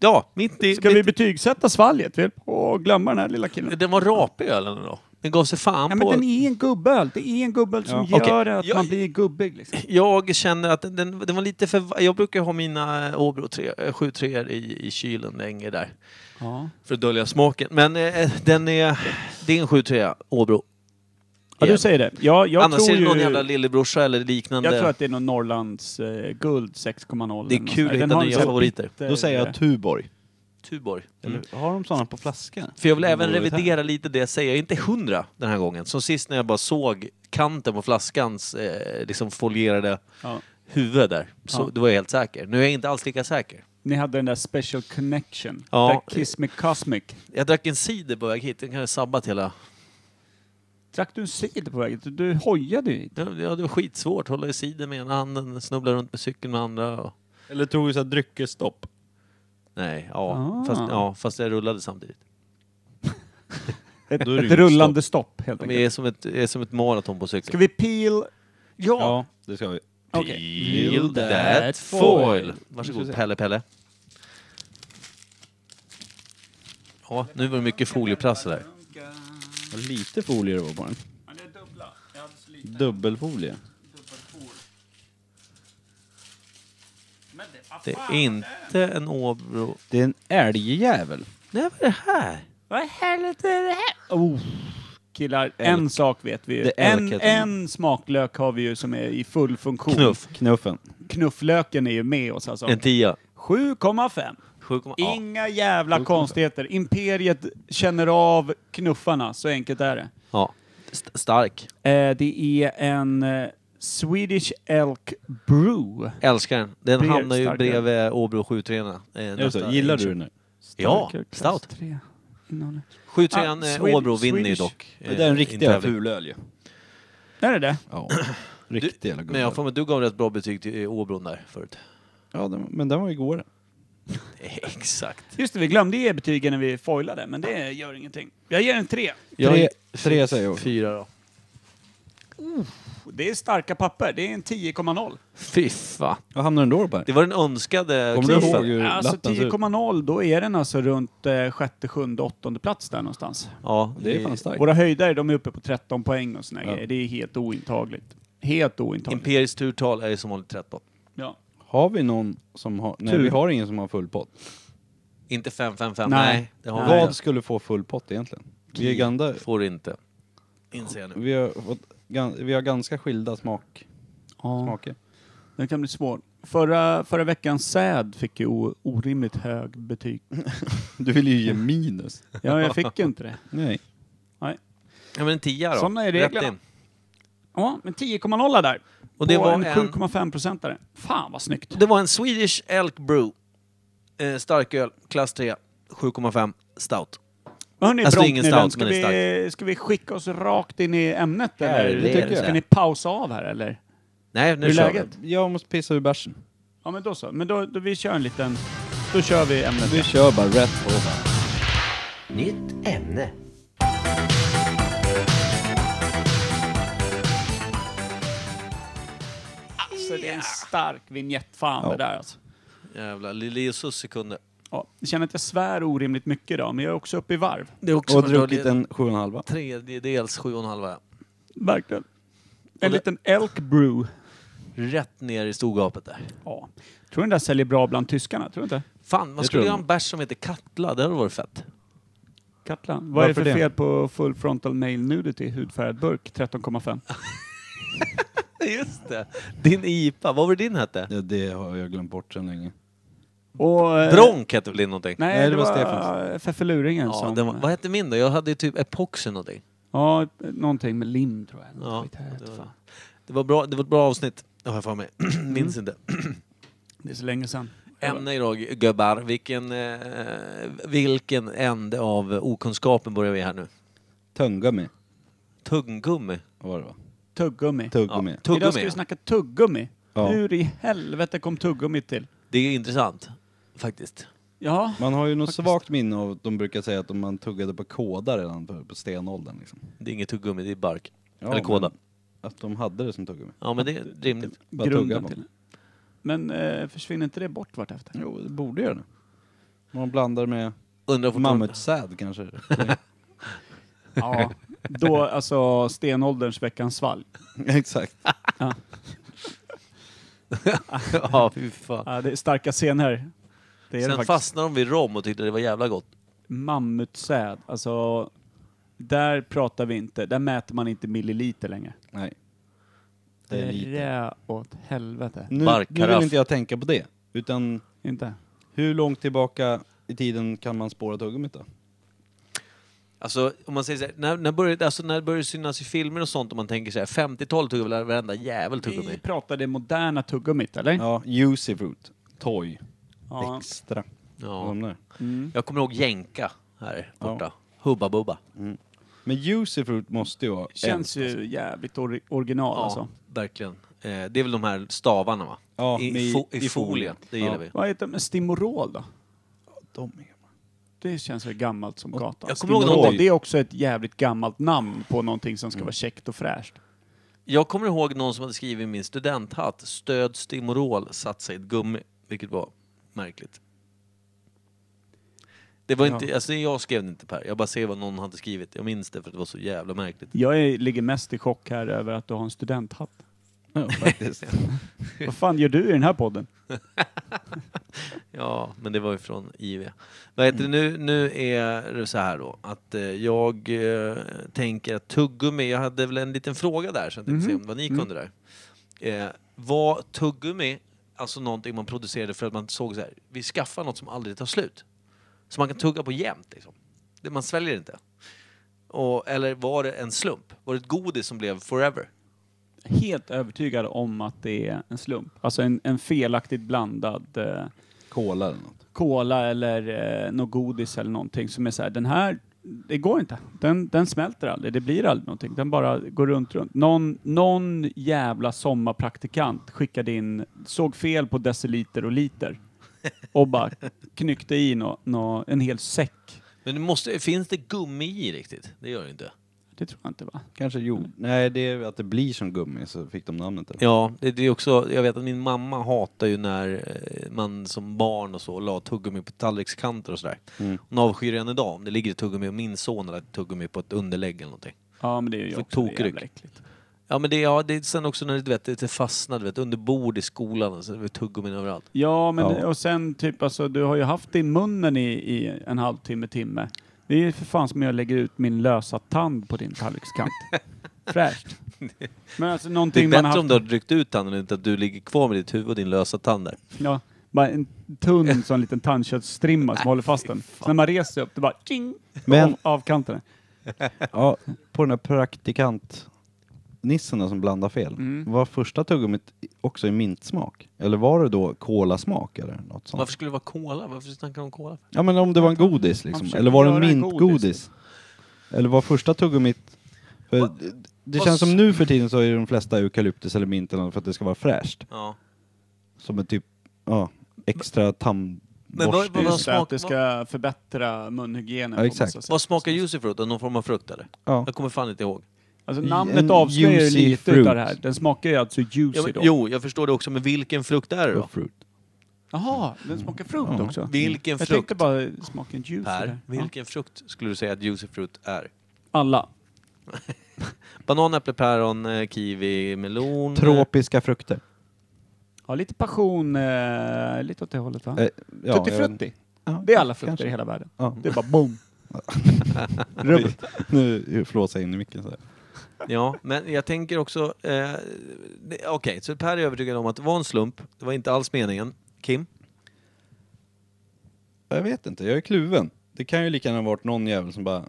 F: Ja, mitt i...
A: ska vi
F: mitt,
A: betygsätta svalget? Vi höll på att glömma den här lilla killen.
F: Den var rapig ölen då. Den gav sig fan
A: Ja, men
F: på...
A: den är en gubböl. Det är en gubböl som
F: Ja.
A: gör
F: Okej.
A: att
F: Jag-
A: man blir gubbig. Liksom.
F: Jag känner att den, den, den var lite för... Jag brukar ha mina Åbro 7-3 i, i kylen länge där.
A: Ja.
F: För att dölja smaken. Men eh, den är... Det är en 7-3 Åbro.
A: du säger det. Jag, jag
F: Annars
A: tror
F: är det någon
A: ju,
F: jävla lillebrorsa eller liknande.
A: Jag tror att det är någon Norrlands eh, guld 6,0.
F: Det
A: eller
F: är
A: något
F: kul
A: sånt där. Den
F: att hitta
A: har en
F: nya
A: sån här
F: favoriter.
A: bitter-
C: Då säger jag Tuborg.
F: Tuborg.
A: Mm.
F: Mm.
C: Eller, har de sådana på flaska?
F: För jag vill
C: Det
F: även
C: vore väl
F: revidera lite det jag säger. Inte hundra den här gången. Som sist när jag bara såg kanten på flaskans eh, liksom folierade
A: Ja.
F: huvud där. Så
A: Ja.
F: då var jag helt säker. Nu är jag inte alls lika säker.
A: Ni hade den där special connection.
F: Ja.
A: Där Kiss Me Cosmic.
F: Jag drack en cider på väg hit. Den kan jag sabbat hela...
A: Drack du en cider på vägen? Du- Du hojade ju.
F: Ja, det var skitsvårt. Hålla i cider med ena handen, snubbla runt med cykeln med andra. Och...
B: Eller tog vi såhär dryckesstopp?
F: Nej, ja.
A: Ah.
F: Fast, ja. Fast jag rullade samtidigt.
A: Ett,
B: Då är det
A: ett
B: ju
A: rullande stopp helt
F: Det
A: enkelt.
F: är som ett, det är som ett maraton på cykeln.
A: Ska vi peel?
B: Ja, det ska vi.
A: Okej.
F: Peel that foil. Varsågod Pelle Pelle. Ja, nu var det mycket folieplast där.
B: Vad lite folie det var på den.
C: Dubbelfolie.
F: Det är inte en Åbro...
C: Det är en älgjävel.
F: Nej, vad är det här?
A: Vad i helvete är det här? Oh. Killar, en sak vet vi ju.
C: Det är
A: En,
C: elket.
A: en smaklök har vi ju som är i full funktion.
F: Knuff.
C: Knuffen.
A: Knufflöken är ju med oss alltså.
F: En tia.
A: 7,5.
F: 7,8.
A: Inga jävla konstigheter. Imperiet känner av knuffarna, så enkelt är det.
F: Ja. St- stark.
A: Eh, det är en eh, Swedish Elk Brew.
F: Älskar den. Den
A: Ber-
F: hamnar ju
A: starkare.
F: bredvid Åbro 7-3.
B: Just det, gillar du den nu?
F: Ja,
A: Starkare klass
F: stout.
A: tre innehåller-
F: 7-3
A: Ah,
F: eh,
A: Swed-
F: Åbro vinner ju
A: Swedish.
F: dock. eh,
C: Det är en
F: i en
C: riktig
F: tävling.
C: fulöl ju.
A: Är det det?
C: Ja. (clears throat)
F: Du,
C: Riktig jävla
F: men jag får
C: gubböl.
F: med du gav rätt bra betyg till eh, Åbron där förut. (laughs)
C: Ja, den, men den var igår.
F: Exakt.
A: Just det, vi glömde ge betygen när vi foilade, men det gör ingenting. Jag ger en tre.
C: Tre, tre säger jag.
F: Fyra då.
A: Det är starka papper. Det är en 10,0.
F: Fy fan.
C: Vad hamnar den då på?
F: Det var den önskade
C: Kommer du ihåg
F: knuffen.
C: hur
A: Alltså
C: lappen ser ut?
A: 10,0, då är den alltså runt eh, sjätte, sjunde, åttonde plats där någonstans.
F: Ja,
C: Det är fan starkt.
A: Våra höjdare, de är uppe på 13 poäng och såna
C: Ja.
A: grejer. Det är helt ointagligt. Helt ointagligt.
F: Imperiets turtal är ju som vanligt 13.
A: ja.
C: Har vi någon som har... Nej,
A: Tur.
C: vi har ingen som har full pott.
F: Inte 555.
A: Nej.
F: Nej. det har vi
C: Vad
F: inte.
C: skulle få full pott egentligen? Vi är, ganda,
F: Får du inte. Inser jag nu.
C: vi har, fått, gan- vi har ganska skilda smak,
A: Ja.
C: smaker.
A: Det kan bli svårt. Förra, förra veckans säd fick ju o- orimligt hög betyg.
C: Du vill ju ge minus.
A: Ja, jag fick ju inte det.
C: Nej.
F: Ja men en tia då.
A: Såna är
F: Rätt
A: reglerna.
F: in.
A: Ja, men 10,0 där.
F: Och det
A: på
F: var
A: en
F: en-
A: 7,5 procentare. Fan vad snyggt.
F: Det var en Swedish Elk Brew. Eh, starköl, klass 3, 7,5 stout.
A: Men Hörni,
F: Alltså, det är ingen
A: Bronknylen,
F: stout,
A: ska,
F: men det är
A: vi, ska vi skicka oss rakt in i ämnet eller?
F: Härligt.
A: Tycker- Ska ni pausa av här eller?
F: Nej, nu
A: Hur är
F: kör
A: läget?
C: Jag måste pissa ur bärsen.
A: Ja men då så, men då, då vi kör en liten... Då kör vi ämnet.
C: Vi kör bara rätt på.
H: Nytt ämne.
A: Alltså det är en stark vignett, fan det där alltså.
F: vi. Jävlar, Lili och Susie kunde.
A: Ja, jag känner att jag svär orimligt mycket idag, men jag är också uppe i varv.
F: Det är också
C: Och druckit en sju och en halva.
F: tredjedels sju och en halva.
A: Verkligen.
F: det-
A: En liten elk brew.
F: Rätt ner i storgapet där.
A: Ja. Tror du den där säljer bra bland tyskarna? Tror du inte?
F: Fan, man
C: Det
F: skulle
C: tror
F: göra
C: jag.
F: en bärs som heter Katla, det hade varit fett.
A: Katlan. Vad är det
C: Varför
A: för
C: det?
A: fel på full frontal male nudity, hudfärgad burk, 13,5?
F: Just det! Din IPA, vad var det din hette?
C: Ja, det har jag glömt bort sedan länge.
A: Och, eh,
F: Bronk hette väl din någonting?
A: Nej, eh. det, var Stefans. Feffeluringen
F: Ja,
A: som...
F: den var, vad hette min då? Jag hade ju typ epoxy någonting.
A: ja, någonting med lim tror jag.
F: Ja,
A: Ja, det,
F: det
A: var...
F: var- Det var, bra, det var ett bra avsnitt, har jag för mig. (clears throat) Minns
A: Mm.
F: inte.
A: det är så länge sedan.
F: Ämne idag, gubbar. Vilken, eh, vilken ände av okunskapen börjar vi här nu?
C: Töngummi
F: Tunggummi.
C: var det va?
A: Tuggummi.
C: Tuggummi.
F: Ja, tuggummi,
A: Idag ska
F: ja.
A: vi snacka tuggummi.
C: Ja.
A: Hur i helvete kom tuggummi till?
F: Det är intressant, faktiskt.
A: Ja,
C: Man har ju något svagt minne av de brukar säga att om man tuggade på kåda redan på, på stenåldern. Liksom.
F: Det är inget tuggummi, det är bark.
C: Ja,
F: Eller kåda.
C: men Att de hade det som tuggummi.
F: Ja, men det är rimligt.
C: Bara tugga
A: grunden
C: på.
A: till det. Men eh, försvinner inte det bort vartefter?
C: Jo, det borde göra det. Man blandar med
F: Undrar fortfarande...
A: (laughs)
C: mammutsäd kanske.
A: Ja. Då, alltså stenålderns veckans svalg.
C: Exakt.
F: ja, fy fan.
A: Ja, det är starka scener. Det är det
F: Sen
A: faktiskt.
F: fastnade de vid rom och tyckte det var jävla gott.
A: Mammutsäd, alltså där pratar vi inte, där mäter man inte milliliter längre.
C: Nej. Det är lite. Mm.
A: är åt helvete.
C: Nu, nu
F: Barkkaraff.
C: vill inte jag tänka på det. Utan
A: Inte?
C: hur långt tillbaka i tiden kan man spåra tuggummit
F: Mm.
C: då?
F: Alltså, om man säger så här, när, när började alltså, när började det synas i filmer och sånt om man tänker så här, 50-talet tog väl varenda jävel
A: Vi
C: Typ.
F: tuggummi?
A: pratade moderna tuggummit, eller?
C: Ja, juicy fruit. Toy.
A: Ja. Mm.
C: Extra.
F: Ja.
C: Ja.
F: Jag kommer ihåg jänka här borta.
C: Ja.
F: Hubba Bubba.
C: Men juicy fruit måste ju vara
A: Känns
C: äldst,
A: ju jävligt or- original alltså.
F: verkligen. Eh, det är väl de här stavarna va?
C: Ja,
F: I,
C: med i-
F: fo- i,
C: i
F: folien.
C: folien.
F: Det gillar
C: Ja.
F: vi.
A: Vad heter det? Stimorol då?
C: alltså. De är gamla.
A: Det känns väl gammalt som gatan.
F: jag kommer ihåg
A: Stimorol,
F: någonting-
A: det är också ett jävligt gammalt namn på någonting som ska vara käckt och fräscht.
F: Jag kommer ihåg någon som hade skrivit i min studenthatt, stöd Stimorol satt sig i ett gummi. Vilket var märkligt. Det var inte, alltså jag skrev det inte Per, jag bara ser vad någon hade skrivit. Jag minns det för att det var så jävla märkligt.
A: Jag är, ligger mest i chock här över att du har en studenthatt.
C: Ja, faktiskt.
A: (laughs) Vad fan gör du i den här podden?
F: Ja, men det var ju från IV. Vad heter det nu? Nu är det så här då att eh, jag eh, tänker att tuggummi, jag hade väl en liten fråga där så jag tänkte se om vad ni kunde där. Eh, var tuggummi alltså någonting man producerade för att man såg så här, vi skaffar något som aldrig tar slut? Som man kan tugga på jämt liksom. Det, man sväljer inte. Och, eller var det en slump? Var det ett godis som blev forever?
A: Helt övertygad om att det är en slump. Alltså en, en felaktigt blandad eh,
C: Cola eller något.
A: cola eller eh, något godis eller någonting som är så här, den här, det går inte. Den, den smälter aldrig, det blir aldrig någonting. Den bara går runt, runt. Någon, någon jävla sommarpraktikant skickade in, såg fel på deciliter och liter och bara knyckte i nå, nå, en hel säck.
F: Men det måste, finns det gummi i riktigt? Det gör det inte.
A: Det tror jag inte va?
C: Kanske jord. Nej, det är att det blir som gummi så fick de namnet. Eller?
F: Ja, det, det är också, jag vet att min mamma hatar ju när eh, man som barn och så la tuggummi på tallrikskanter och sådär.
A: Mm.
F: Hon avskyr det än idag om det ligger ett tuggummi och min son har lagt tuggummi på ett underlägg eller någonting.
A: Ja men det är ju
F: För
A: också det är
F: tokryck.
A: jävla äckligt.
F: Ja men det, ja, det är sen också när det, du vet, det fastnar, du vet, under bord i skolan och så är det tuggummin överallt.
A: Ja men
C: Ja.
A: och sen typ alltså, du har ju haft det i munnen i, i en halvtimme, timme.
C: (laughs)
A: Det är ju för fan som jag lägger ut min lösa tand på din tallrikskant. Fräscht. Men alltså
F: Det är
A: någonting man
F: bättre
A: har haft...
F: om du har ryckt ut tanden än att du ligger kvar med ditt huvud och din lösa tand där.
A: Ja, bara en
C: (laughs)
A: tunn sån liten tandköttsstrimma som håller fast den. Så när man reser sig upp, det bara tjing!
C: Men-
A: Av, av kanterna.
C: Ja, på den där praktikant-nissen då som blandar fel. Var första tuggummit också i mintsmak? Eller var det då kolasmak eller något sånt?
F: Varför skulle det vara cola? Varför snackar de om cola?
C: Ja men om det var en godis
A: Man
C: liksom.
A: försöker
C: Eller var det en
A: göra en
C: mintgodis? Eller var första tuggummit... För det, det
F: Vad
C: känns
F: s-
C: som nu för tiden så är de flesta eukalyptus eller mint eller något för att det ska vara fräscht.
F: Ja.
C: Som en typ, ja, extra
F: Men vad-
C: tandborste.
F: vad-
A: Just
F: smak-
A: det, att det ska förbättra munhygienen.
C: Ja,
A: på
C: exakt.
A: massa sätt.
F: Vad smakar juicy fruit? då? Någon form av frukt eller?
C: Ja.
F: Jag kommer fan inte ihåg.
A: Alltså
C: I-
A: namnet
C: en
A: avslöjar ju
C: juicy
A: lite
C: fruit.
A: utav det här. Den smakar ju alltså juicy
F: Ja, men,
A: då.
F: jo, jag förstår det också, men vilken frukt är det då?
C: Fruit.
A: Jaha, den smakar frukt
C: Ja.
A: också.
F: Vilken
A: Mm. jag
F: frukt?
A: tänkte bara smaken juicy där.
F: Per,
A: Ja.
F: vilken frukt skulle du säga att juicy fruit är?
A: Alla.
F: Banan, äpple, päron, eh, kiwi, melon.
A: Mm.
C: Tropiska frukter.
A: Ja, lite passion, eh, lite åt det hållet va?
C: Eh, ja,
A: Tutti
C: jag vet-
A: frutti.
C: Ja,
A: Det är alla frukter
C: kanske.
A: i hela världen.
C: Ja.
A: Det är bara
C: (laughs)
A: boom.
C: Rubbet. Nu flåsar jag in i micken så här.
F: Ja, men jag tänker också... Eh, det- Okej, så Per är övertygad om att det var en slump. Det var inte alls meningen. Kim?
C: Jag vet inte, jag är kluven. Det kan ju lika gärna ha varit någon jävel som bara,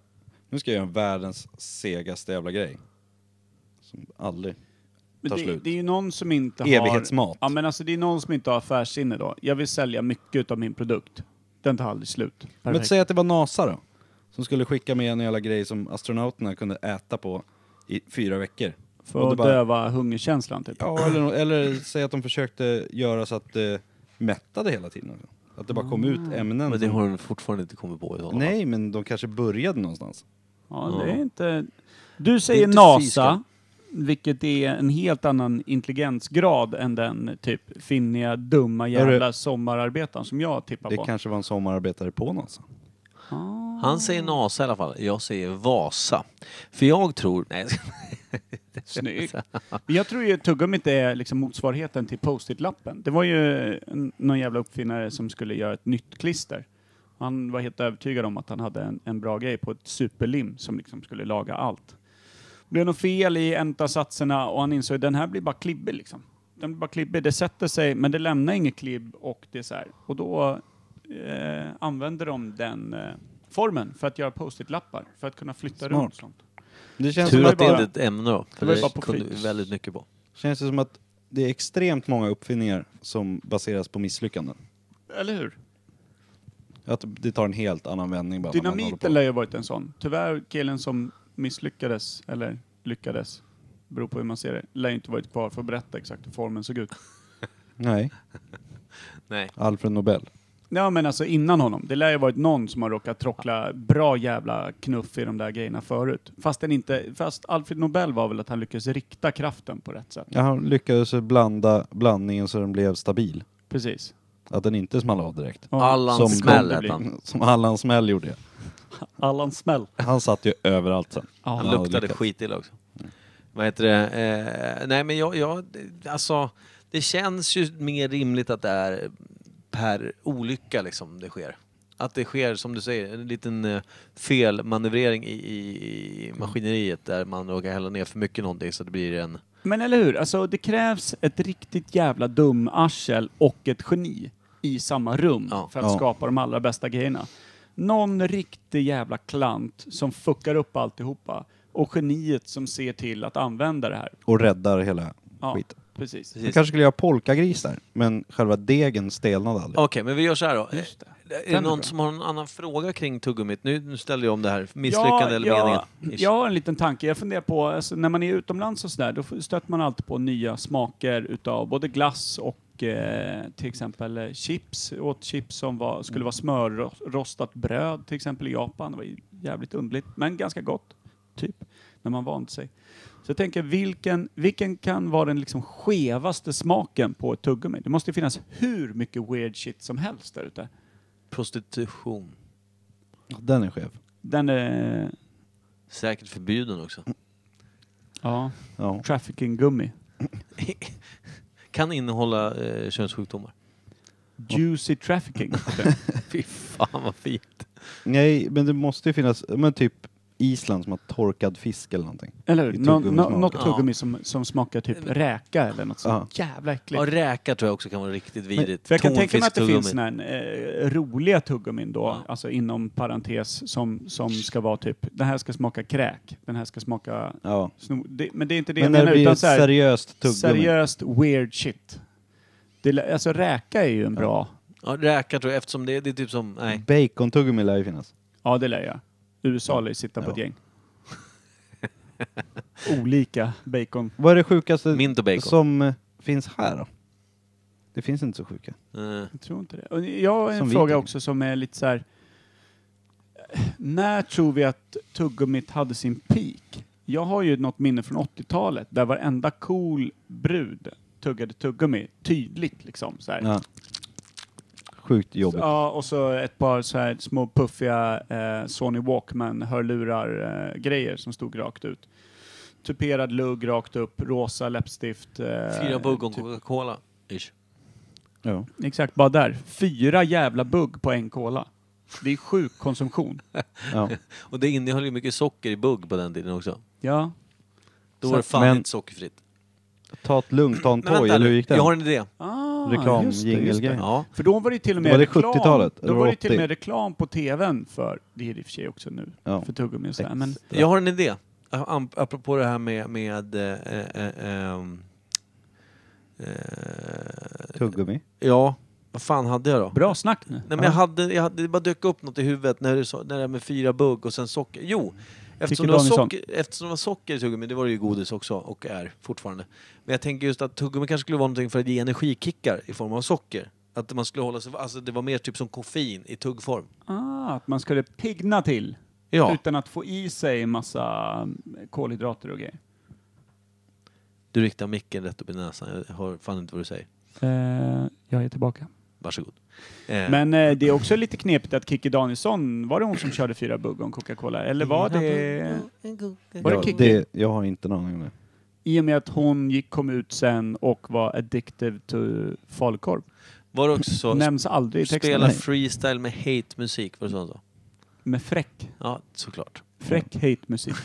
C: nu ska jag göra världens segaste jävla grej. Som aldrig
A: Men
C: tar
A: det,
C: slut.
A: det är ju någon som inte har...
C: Evighetsmat.
A: Ja, men alltså det är någon som inte har affärssinne då. Jag vill sälja mycket av min produkt. Den tar aldrig slut.
C: Men
A: Perfekt.
C: säg att det var NASA då, som skulle skicka med en jävla grej som astronauterna kunde äta på i fyra veckor. Och
A: För
C: det
A: att
C: bara-
A: döva hungerkänslan typ.
C: Ja, eller, nå- eller säg att de försökte göra så att eh, det mättade hela tiden. också. Att det bara kom
A: Ah.
C: ut ämnen.
F: Men det
C: som-
F: har hon fortfarande inte kommit på i alla fall.
C: Nej, men de kanske började någonstans.
A: Ja,
F: Ja.
A: det är inte... Du säger
F: inte
A: NASA, vilket är en helt annan intelligensgrad än den typ finniga, dumma
C: Hörru.
A: jävla sommararbetaren som jag tippar
C: Det
A: på.
C: kanske var en sommararbetare på någonstans.
F: Han säger Nasa i alla fall. Jag säger Vasa. För jag tror... Nej,
A: Snyggt. Men jag tror ju tuggummit är liksom motsvarigheten till post-it-lappen. Det var ju en- någon jävla uppfinnare som skulle göra ett nytt klister. Han var helt övertygad om att han hade en, en bra grej på ett superlim som liksom skulle laga allt. Det blev något fel i en av satserna och han insåg att den här blir bara klibbig liksom. Den blir bara klibbig, det sätter sig men det lämnar inget klibb och det är så här. Och då eh, använder de den eh, formen för att göra post-it-lappar, för att kunna flytta
C: Smart.
A: runt sånt.
C: Det känns
F: Tur
C: som
A: var
F: att
C: att,
F: det
A: bara-
F: inte är ett ämne då.
A: det
F: För
A: var ju
F: det,
A: bara på
F: kunde
A: flyt.
F: vi väldigt mycket på.
C: känns det som att det är extremt många uppfinningar som baseras på misslyckanden.
A: Eller hur?
C: Att det tar en helt annan vändning bara. när man håller på.
A: Dynamiten lär ju ha varit en sån. Tyvärr, killen som misslyckades, eller lyckades, beror på hur man ser det, lär ju inte varit kvar för att berätta exakt hur formen såg ut.
C: Nej,
F: Nej.
C: Alfred Nobel.
A: Ja men alltså innan honom. Det lär ju ha varit någon som har råkat trockla bra jävla knuff i de där grejerna förut. Fast, den inte, fast Alfred Nobel var väl att han lyckades rikta kraften på rätt sätt.
C: Ja, han lyckades blanda blandningen så den blev stabil.
A: Precis.
C: Att den inte small av direkt.
A: Ja.
F: Allan
C: Som
F: Smäll
A: det
F: hette
A: blir.
F: han.
C: Som Allan Smäll gjorde.
A: Allan Smäll.
C: Han satt ju överallt sen.
F: Han
C: hade
F: luktade
C: lyckats.
F: skitilla också. Vad heter det? Eh, nej men jag, jag, alltså, det känns ju mer rimligt att det är per olycka liksom det sker. Att det sker, som du säger, en liten eh, felmanövrering i, i, i maskineriet där man råkar hälla ner för mycket någonting så det blir en...
A: Men eller hur? Alltså det krävs ett riktigt jävla dum arsel och ett geni i samma rum
F: Ja.
A: för att
C: Ja.
A: skapa de allra bästa grejerna. Någon riktig jävla klant som fuckar upp alltihopa och geniet som ser till att använda det här.
C: Och räddar hela
A: Ja,
C: skiten.
A: precis.
C: Han kanske skulle göra polkagris där, men själva degen stelnade aldrig.
F: Okej, men vi gör så här då. Eh,
A: Just det.
F: Är
A: Den
F: det
A: är
F: någon
A: bra.
F: som har någon annan fråga kring tuggummit? Nu, nu ställer jag om det här. Misslyckande eller
A: ja,
F: meningen?
A: Jag har en liten tanke. Jag funderar på, alltså, när man är utomlands och sådär, då stöter man alltid på nya smaker utav både glass och eh, till exempel eh, chips. Jag åt chips som var, skulle vara smörrostat bröd till exempel i Japan. Det var ju jävligt underligt, men ganska gott. Typ, när man vant sig. Så jag tänker, vilken, vilken kan vara den liksom skevaste smaken på ett tuggummi? Det måste ju finnas hur mycket weird shit som helst där ute.
F: Prostitution.
C: Den är skev.
A: Den eh, är...
F: Säkert förbjuden också.
A: Ja.
C: Ja.
A: Trafficking-gummi.
F: (laughs) kan innehålla eh, könssjukdomar. (laughs)
A: Juicy
C: (laughs)
A: trafficking. Typ.
F: Fy fan vad fint.
C: Nej, men det måste ju finnas, men typ Island som har torkad fisk eller någonting.
A: Eller hur?
C: I
A: Nå, nå,
C: tuggummismak.
A: något
F: Ja.
A: tuggummi som, som smakar typ räka eller något sånt. Jävla
F: Ja,
A: äckligt.
F: räka tror jag också kan vara riktigt vidrigt.
A: För jag kan tänka mig att det
F: Tonfisktuggummi.
A: finns såna här, eh, roliga tuggummin då, alltså inom parentes, som, som ska vara typ, den här ska smaka kräk, den här ska smaka
C: Ja.
A: snor. Det, men det är inte det jag
C: Men när det
A: menar,
C: blir
A: utan
C: ett
A: så här,
C: seriöst tuggummi.
A: seriöst weird shit. Det, lä- alltså räka är ju en bra,
F: Ja, räka tror jag, eftersom det, det är typ som... Nej.
C: Bacon-tuggummi lär ju finnas.
A: ja det lär jag. USA lär ju sitta på
C: Ja.
A: ett gäng. (laughs) Olika bacon.
C: Vad är det
A: Mm.
C: sjukaste
F: Mint och bacon.
C: som eh, finns här då? Det finns inte så sjuka.
F: Eh,
A: Jag tror inte det. Och jag har en
C: Som vi
A: fråga
C: tycker.
A: också som är lite så här. När tror vi att tuggummit hade sin peak? Jag har ju något minne från 80-talet där varenda cool brud tuggade tuggummi tydligt liksom. Så här.
C: Ja. Sjukt jobbigt.
A: Ja, och så ett par så här små puffiga eh, Sony Walkman-hörlurar-grejer som stod rakt ut. Tuperad lugg rakt upp, rosa läppstift. Eh,
F: fyra bugg
A: typ.
F: Coca-Cola. Ish.
C: Ja.
A: Exakt, bara där. Fyra jävla bugg på en cola. Det är sjuk konsumtion.
C: Ja.
F: Och det innehöll ju mycket socker i bugg på den tiden också.
A: Ja.
F: Då
A: Så
F: var det
A: att-
F: fan
C: men-
F: inte sockerfritt.
C: Ta ett lugnt,
F: (laughs)
C: ta en toj, eller hur gick det?
F: jag har en idé.
A: Ah,
C: Reklam,
A: just det, just
C: jingle-grej.
A: det.
F: Ja.
A: För då var det till och med
C: Var det
A: reklam.
C: 70-talet?
A: Då
C: Eller
A: var det till och
C: 80?
A: med reklam på tvn för, det är det i och för sig också nu,
C: Ja.
A: för tuggummi och sådär. Men
F: Jag har en idé. Am- Apropå det här med... med eh, eh, eh, ehm, eh,
C: Tuggummi.
F: ja, vad fan hade jag då?
A: bra snack nu.
F: Nej, men jag hade, jag hade, det bara dök upp något i huvudet när du sa när det här med fyra bugg och sen socker. Jo, eftersom det, var
A: Danielsson.
F: socker, eftersom det var socker i tuggummi, det var det ju godis också och är fortfarande. Men jag tänker just att tuggummi kanske skulle vara någonting för att ge energikickar i form av socker. Att man skulle hålla sig, alltså det var mer typ som koffein i tuggform.
A: Ah, att man skulle pigna till
F: Ja,
A: utan att få i sig massa mm, kolhydrater och grejer.
F: du riktar micken rätt upp i näsan. Jag hör fan inte vad du säger.
A: Eh, jag är tillbaka.
F: Varsågod. Eh,
A: Men eh, det är också lite knepigt att Kikki Danielsson, var det hon som körde fyra bugg om Coca-Cola? Eller var det... Var det
C: Ja,
A: Kikki?
C: det, jag har inte en aning om det.
A: I och med att hon gick, kom ut sen och var addictive to falukorv.
F: var det också så,
A: Nämns aldrig i texten.
F: spela
A: Nej.
F: freestyle med hate-musik, var det så han sa?
A: Med fräck.
F: Ja, såklart.
A: Fräck hate
C: (laughs)
A: musik.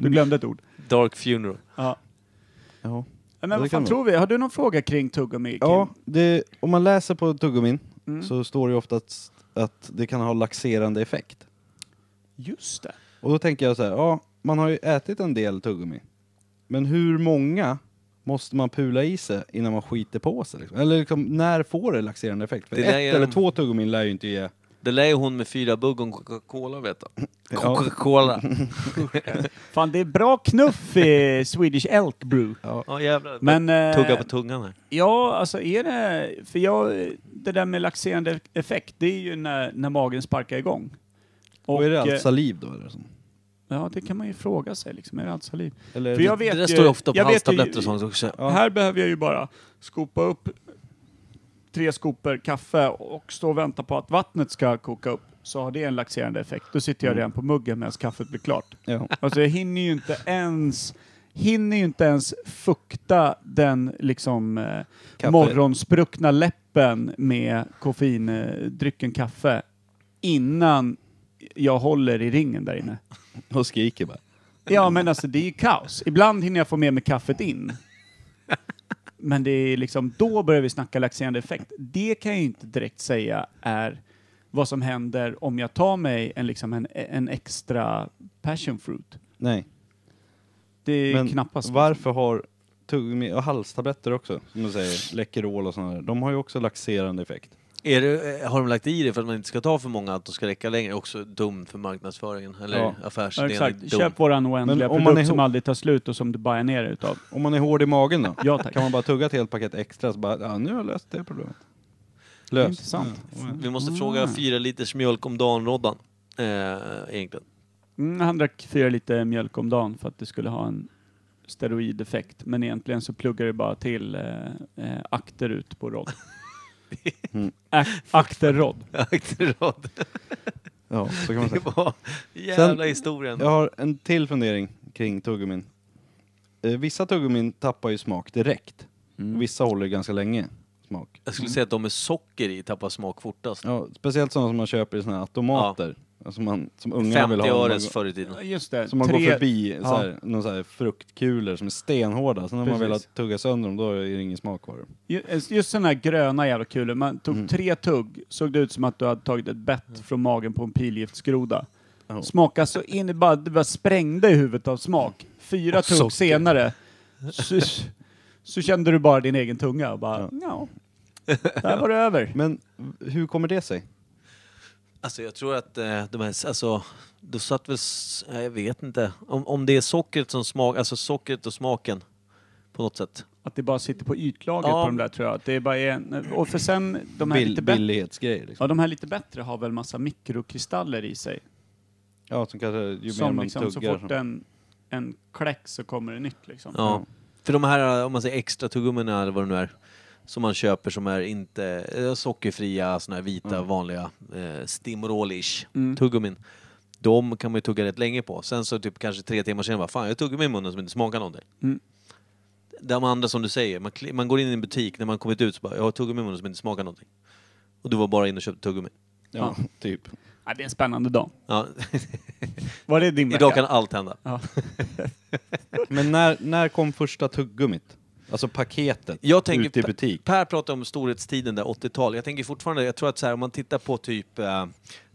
A: du glömde ett ord.
F: Dark funeral.
A: Ja.
C: Ja.
A: Men
C: det
A: vad
C: kan
A: fan
C: vara.
A: tror vi? Har du någon fråga kring tuggummi? Kim?
C: Ja, det, om man läser på tuggummin
A: Mm.
C: så står det ju oftast att det kan ha laxerande effekt.
A: Just det.
C: Och då tänker jag så här, ja, man har ju ätit en del tuggummi. Men hur många måste man pula i sig innan man skiter på sig? Liksom? Eller liksom, när får det laxerande effekt? För
F: Det där
C: ett
F: är-
C: eller två tuggummin lär ju inte ge...
F: Det lär ju hon med fyra bugg om Coca-Cola veta.
C: Ja.
A: (laughs)
F: Coca-Cola.
A: Fan, det är bra knuff
C: (laughs)
A: i Swedish Elk Brew.
F: Ja jävlar.
A: Men...
C: Äh,
A: eh,
F: Tugga på tungan här.
A: Ja, alltså är det... För jag, det där med laxerande effekt, det är ju när, när magen sparkar igång.
C: Och, är det
A: eh,
C: allt saliv då? Eller, liksom. så?
A: Ja, det kan man ju fråga sig liksom. Är det allt saliv?
C: eller
A: För jag vet
F: Eh, Det där
A: ju,
F: står ju ofta på
A: jag vet ju-
F: halstabletter och sånt också.
C: Ja.
A: Här behöver jag ju bara skopa upp tre skopor kaffe och stå och vänta på att vattnet ska koka upp. Så har det en laxerande effekt. Då sitter
F: Mm.
A: jag redan på muggen medan kaffet blir klart.
C: ja. (laughs)
A: Alltså jag hinner ju inte ens hinner ju inte ens fukta den liksom eh,
C: Kaffe.
A: morgonspruckna läppen med koffeindrycken eh, drycken kaffe innan jag håller i ringen där inne.
C: Och skriker bara.
A: Ja, men alltså det är ju kaos. Ibland hinner jag få med mig kaffet in. Men det är liksom, då börjar vi snacka laxerande effekt. Det kan jag ju inte direkt säga är vad som händer om jag tar mig en, liksom en, en extra passion fruit.
C: Nej.
A: Det är
C: Men
A: knappast. liksom.
C: varför har tuggummi och halstabletter också, som du säger, Läkerol och sådana där, de har ju också laxerande effekt.
F: Är det, eh, har de lagt i det för att man inte ska ta för många, att de ska räcka längre? Också dumt för marknadsföringen, eller
C: Ja.
A: Ja,
F: affärsidén.
A: exakt.
F: Dum.
A: Köp våran oändliga
C: Men om man
A: produkt
C: är
A: som
C: ihop-
A: aldrig tar slut och som du bara är ner utav.
C: Om man är hård i magen då?
A: (laughs) Ja tack.
C: Kan man bara tugga ett helt paket extra så bara, ja nu har jag löst det problemet. Löst.
A: Intressant.
F: Mm.
A: Mm.
F: Vi måste fråga fyra liters mjölk om dagen, Roddan. Eh, (laughs) egentligen.
A: Mm, han drack fyra liter mjölk om dagen för att det skulle ha en steroideffekt. Men egentligen så pluggar det bara till eh, eh, akter ut på (laughs) rodd.
C: Mm.
A: Ak- Akterrodd.
F: Rodd.
C: Ja, så kan man
F: (laughs)
C: säga.
F: Det var jävla historien.
C: Jag har en till fundering kring tuggummin. Eh, vissa tuggummin tappar ju smak direkt. Och Vissa håller ganska länge smak.
F: Jag skulle säga att de med socker i tappar smak fortast.
C: Ja, speciellt sådana som man köper i såna här automater. Som, man, som ungarna vill ha.
F: 50
C: när man
F: öres
C: går-
F: förr i tiden.
A: Just det.
C: Som man
A: tre-
C: går förbi,
A: Ja.
C: så här, någon så här fruktkulor som är stenhårda. Sen när man
A: Precis.
C: väl har tuggat sönder dem, då är det ingen smak kvar.
A: Just, eh, just sådana här gröna jävla kulor. Man tog
C: Mm.
A: tre tugg, såg det ut som att du hade tagit ett bett från magen på en pilgiftsgroda.
C: Ja.
A: Smakade så in i bara, det bara sprängde i huvudet av smak. Fyra tugg senare (laughs) så, så kände du bara din egen tunga och bara, ja, där var det över.
C: Men v- hur kommer det sig?
F: Alltså jag tror att eh, de här, alltså, då satt väl, s- nej, jag vet inte. Om, om det är sockret som smak, alltså sockret och smaken på något sätt.
A: Att det bara sitter på ytlagret
F: Ja.
A: på de där tror jag. Att det bara är en, och för sen, de här,
C: Bill,
A: lite bättre,
C: billighetsgrejer liksom.
A: ja, de här lite bättre har väl massa mikrokristaller i sig.
C: Ja, som kanske, ju mer
A: som
C: man
A: liksom, så
C: tuggar.
A: fort en, en kläck så kommer det nytt liksom.
F: Ja.
C: Mm.
F: För de här, om man säger extra tuggummina eller vad det nu är, som man köper som är inte eh, sockerfria, såna här vita vanliga eh, stimrol-ish
A: Mm.
F: tuggummin. De kan man ju tugga rätt länge på. Sen så typ kanske tre timmar senare, bara, fan jag tuggade mig i munnen som inte smakar någonting.
A: Mm.
F: De andra som du säger, man, kli- man går in i en butik, när man kommit ut så bara, jag har tuggummi i munnen som inte smakar någonting. Och du var bara inne och köpte tuggummi.
C: Ja, typ.
A: Ja, det är en spännande dag.
F: Ja, (laughs)
A: Var det din
F: idag
A: vecka?
F: kan allt hända.
A: Ja.
C: Men när, när kom första tuggummit? Alltså paketet
F: Jag tänker
C: ute i butik.
F: Per pratar om storhetstiden där, 80-tal. Jag tänker fortfarande, jag tror att så här, om man tittar på typ, eh,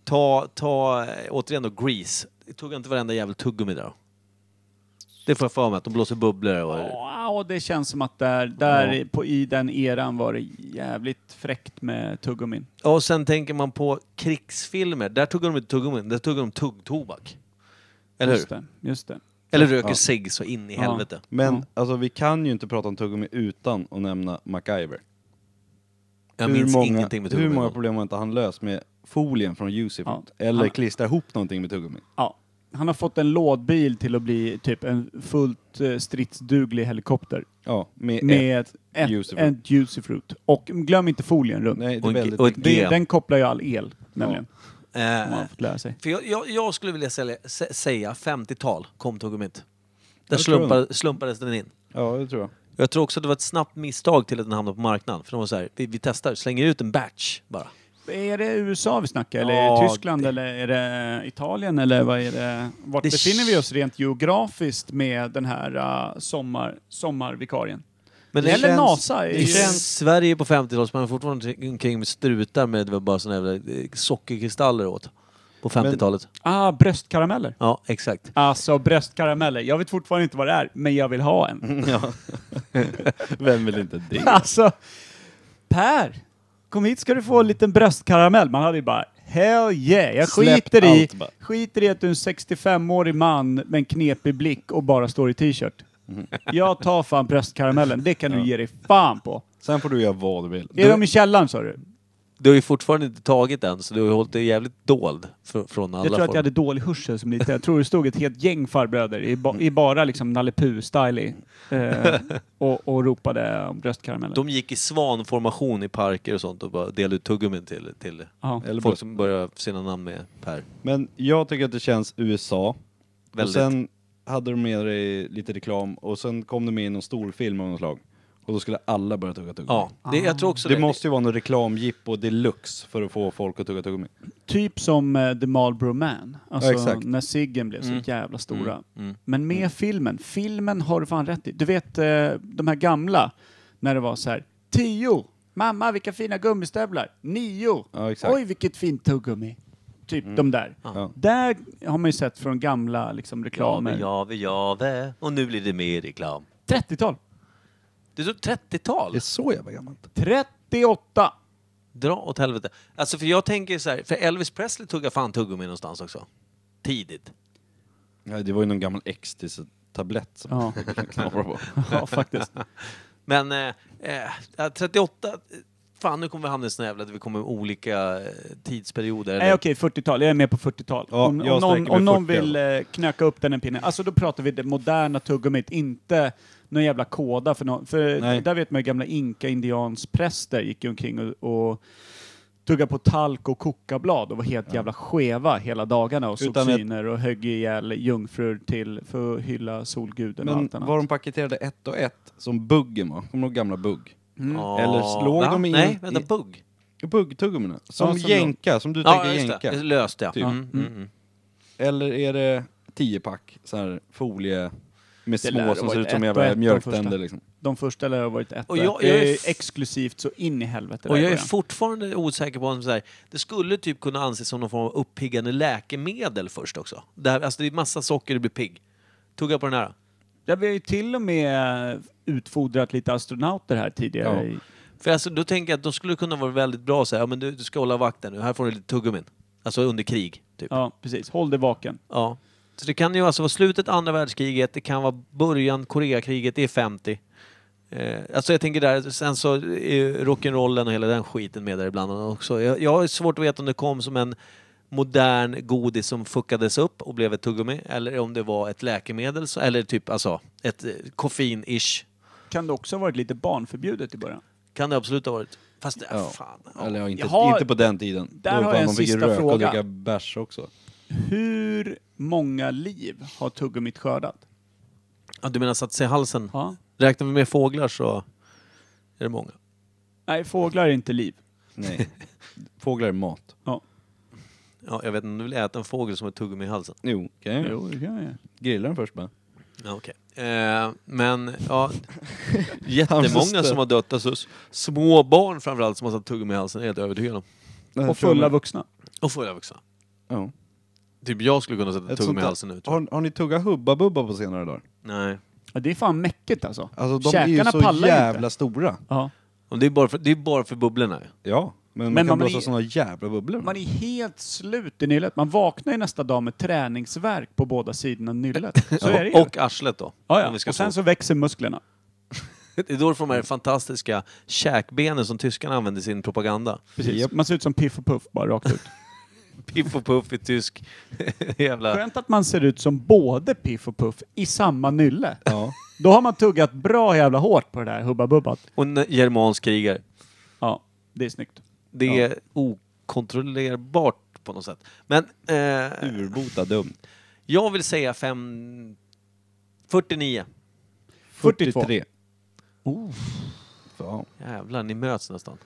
F: ta, ta eh, återigen då Grease. Tugga inte varenda jävel tuggummi där då. Det får jag för mig, att de blåser bubblor och...
A: Ja, det känns som att där, där
F: Ja.
A: på, i den eran var det jävligt fräckt med tuggummin.
F: Ja, Och sen tänker man på krigsfilmer, där tuggar de inte tuggummi, där tuggar de tuggtobak. Eller hur?
A: Just det, just det.
F: Eller röker
C: Ja.
F: cigg så in i
A: Ja.
F: helvete.
C: Men
A: Ja.
C: alltså vi kan ju inte prata om tuggummi utan att nämna MacGyver.
F: Jag
C: Hur
F: minns
C: många-
F: ingenting med
C: Hur
F: tuggummi.
C: många problem har inte han löst med folien från Jusif?
A: Ja.
C: Eller
A: Han-
C: klistra ihop någonting med tuggummi?
A: Ja. Han har fått en lådbil till att bli typ en fullt eh, stridsduglig helikopter.
C: Ja, med, ett.
A: Med ett, ett,
C: Juicifruit.
A: ett juicifruit. Och glöm inte folien runt.
C: Nej, det
F: Och
C: är
F: en-
C: väldigt
F: och ett-
C: viktigt.
A: Det,
F: Ja.
A: Den kopplar ju all el, nämligen. Har
F: Eh,
A: man fått lära sig.
F: För jag, jag, jag skulle vilja sälja, sä, säga 50-tal kom tuggummit. Där
C: Jag tror
F: slumpade, slumpades den in.
C: Ja, det
F: (laughs)
C: tror jag.
F: Jag tror också att det var ett snabbt misstag till att den hamnade på marknaden. För de var så här, vi, vi testar, slänger ut en batch bara.
A: Är det USA vi snackar eller
F: Ja,
A: är det Tyskland eller är det Italien eller vad är det? Vart
F: Det-
A: befinner vi oss rent geografiskt med den här uh, sommar, sommarvikarien?
F: Men
A: eller
F: känns-
A: NASA? Är
F: I
A: ju,
F: Sverige på 50-talet sprang fortfarande omkring med strutar med det var bara såna jävla eh, sockerkristaller åt. På 50-talet.
A: Ah, bröstkarameller.
F: Ja, exakt.
A: Alltså bröstkarameller. Jag vet fortfarande inte vad det är, men jag vill ha en.
F: (laughs)
C: Vem vill inte det?
A: (laughs) Alltså, Per! Kom hit ska du få en liten bröstkaramell. Man hade ju bara Hell yeah! Jag
C: Släpp
A: skiter i,
C: allt bara.
A: skiter i att du är en 65-årig man med en knepig blick och bara står i t-shirt.
C: Mm.
A: Jag tar fan bröstkaramellen. Det kan du ge dig fan på.
C: (laughs) Sen får du göra vad du vill.
A: Är de i källaren sa du?
F: Du har ju fortfarande inte tagit den, så du har ju hållit dig jävligt dold fr- från alla
A: Jag tror att jag
F: former.
A: hade dålig hörsel som lite. Jag tror det stod ett helt gäng farbröder i, ba, i bara liksom Nalle Puh-style i,
C: (laughs)
A: eh, och, och ropade om bröstkaramellen.
F: De gick i svanformation i parker och sånt och bara delade ut tuggummin till, till
A: ja.
C: Eller
F: folk som började sina namn med Per.
C: Men jag tycker att det känns USA.
F: Väldigt.
C: Och sen hade de med dig lite reklam och sen kom de med i någon stor film av något slag. Och då skulle alla börja tugga tuggummi.
F: Ja, det,
A: Ah.
F: jag tror också
C: Det måste ju vara någon reklamjippo deluxe för att få folk att tugga tuggummi.
A: Typ som eh, The Marlboro Man. Alltså
C: Ja, exakt.
A: när ciggen blev så jävla stora.
F: mm.
A: Men med filmen. Filmen har du fan rätt i. Du vet eh, de här gamla. När det var så här. Tio! Mamma vilka fina gummistövlar! Nio!
C: Ja, exakt.
A: Oj vilket fint tuggummi! Typ
F: Mm.
A: de där.
C: Ja.
A: Där har man ju sett från gamla liksom, reklamer.
F: Jave, jave, och nu blir det mer reklam.
A: 30-tal!
F: Det är så 30-tal!
C: Det är så jävla gammalt.
A: 38!
F: Dra åt helvete. Alltså för jag tänker så här, för Elvis Presley tuggade fan tuggummi någonstans också. Tidigt.
C: Ja, det var ju någon gammal ecstasy-tablett som (laughs)
F: (laughs)
A: Ja.
C: man knaprade på.
A: ja, faktiskt.
F: Men eh, eh, ja, 38, eh, fan nu kommer vi hamna i såna jävla där vi kommer i olika eh, tidsperioder.
A: Nej
F: Eller?
A: okej, 40-tal. Jag är med på 40-tal.
C: Ja,
A: om
C: jag
A: om
C: sträcker
A: någon,
C: mig
A: om någon
C: 40
A: vill eh, knöka upp den en pinne. Alltså då pratar vi det moderna tuggummit, inte någon jävla kåda för någon. För
C: Nej.
A: där vet man ju gamla inka-indianspräster gick ju omkring och, och tuggade på talk och kokablad och var helt jävla skeva hela dagarna och såg
C: Utan ett-
A: syner och högg ihjäl jungfrur till för att hylla solguden och
C: Men
A: allt annat.
C: var de paketerade ett
A: Mm.
C: och ett som buggen var? Kommer du ihåg gamla bugg?
F: Ja.
C: Eller slog de in
F: Nej,
C: i-
F: vänta, bugg.
C: Buggtuggummina? Som,
A: som
C: jänka, som du
F: Ja,
C: tänker
F: just
C: jänka?
F: det. Löst ja.
C: Typ.
F: Mm, mm, mm.
C: Eller är det tiopack, så här folie med
A: Det lär
C: små
A: ha
C: som ser
A: varit
C: ut som
A: ett och ett,
C: jävla
A: de första.
C: mjölktänder liksom?
A: De första lär ha varit ett och
F: Och jag-
A: ett.
F: jag är
A: Det
F: f-
A: är exklusivt så in i helvete. där
F: Och
A: i
F: jag är
A: början.
F: fortfarande osäker på om så här, det skulle typ kunna anses som någon form av uppiggande läkemedel först också. Det, här, alltså det är massa socker, du blir pigg. Tugga på den här.
A: Ja, vi har ju till och med utfodrat lite astronauter här tidigare.
C: Ja.
F: För alltså, då tänker jag att de skulle kunna vara väldigt bra så här, ja, men du, du ska hålla vakten nu, här får du lite tuggummin. Alltså under krig, typ.
A: ja, precis. Håll dig vaken.
F: Ja. Så det kan ju alltså vara slutet andra världskriget, det kan vara början Koreakriget, det är 50. Eh, alltså jag tänker där, sen så är rock'n'rollen och hela den skiten med där ibland också. Jag, jag har svårt att veta om det kom som en modern godis som fuckades upp och blev ett tuggummi eller om det var ett läkemedel så- eller typ alltså ett eh, koffein-ish.
A: Kan det också ha varit lite barnförbjudet i början?
F: Kan det absolut ha varit. Fast det,
C: Ja.
F: fan. Ja.
C: Eller ja, inte,
A: Jag har-
C: inte på den tiden.
A: Där har
C: Då fan,
A: jag en
C: de fick ju
A: sista
C: röka
A: fråga.
C: och dricka bärs också.
A: Hur många liv har tuggummit skördat?
F: Ja, du menar satt sig i halsen?
A: Ja.
F: Räknar vi med fåglar så är det många.
A: Nej, fåglar är inte liv. (laughs)
C: Nej. Fåglar är mat.
F: Ja, jag vet inte om du vill äta en fågel som har ett tuggummi i halsen.
C: Jo, kan jag
A: Jo, det kan jag.
C: grilla den först bara.
F: Ja, okej. Eh, men ja, jättemånga som har dött. Alltså, s- små barn framförallt som har satt tuggummi i halsen är jag helt övertygad om.
A: Och fulla vuxna.
F: Och fulla vuxna.
C: ja.
F: Typ jag skulle kunna sätta
C: Ett
F: tuggummi i
C: sånt-
F: halsen nu. tror jag.
C: har, har ni tuggat Hubba Bubba på senare dagar?
F: Nej.
A: Ja, det är fan mäckigt alltså.
C: Alltså de är
A: Käkarna
C: ju så
A: pallar ju
C: jävla
A: inte.
C: stora.
A: Ja.
F: Och det, är bara för, det är bara för bubblorna ju.
C: Ja, men, man
A: Men
C: kan
A: man
C: blåsa
A: är-
C: såna jävla bubblor.
A: Man är helt slut i nyllet. Man vaknar ju nästa dag med träningsvärk på båda sidorna av nyllet. Så är det ju.
F: Och arslet då.
A: ja, ja.
F: Om vi ska
A: och sen
F: så.
A: så växer musklerna.
F: Det är då du får de här fantastiska käkbenen som tyskarna använder i sin propaganda.
A: Precis.
C: Japp.
A: Man ser ut som Piff och Puff bara rakt ut.
F: Piff och Puff i tysk. (laughs) Jävla...
A: Skönt att man ser ut som både Piff och Puff i samma nylle.
C: Ja.
A: Då har man tuggat bra jävla hårt på det där Hubba Bubbat.
F: Och en germansk krigare.
A: Ja, det är snyggt.
F: Det är okontrollerbart på något sätt. Men... Eh,
C: Urbota dumt.
F: Jag vill säga fem... 49.
A: 42.
C: 43. Fan.
F: Jävlar, ni möts nästan.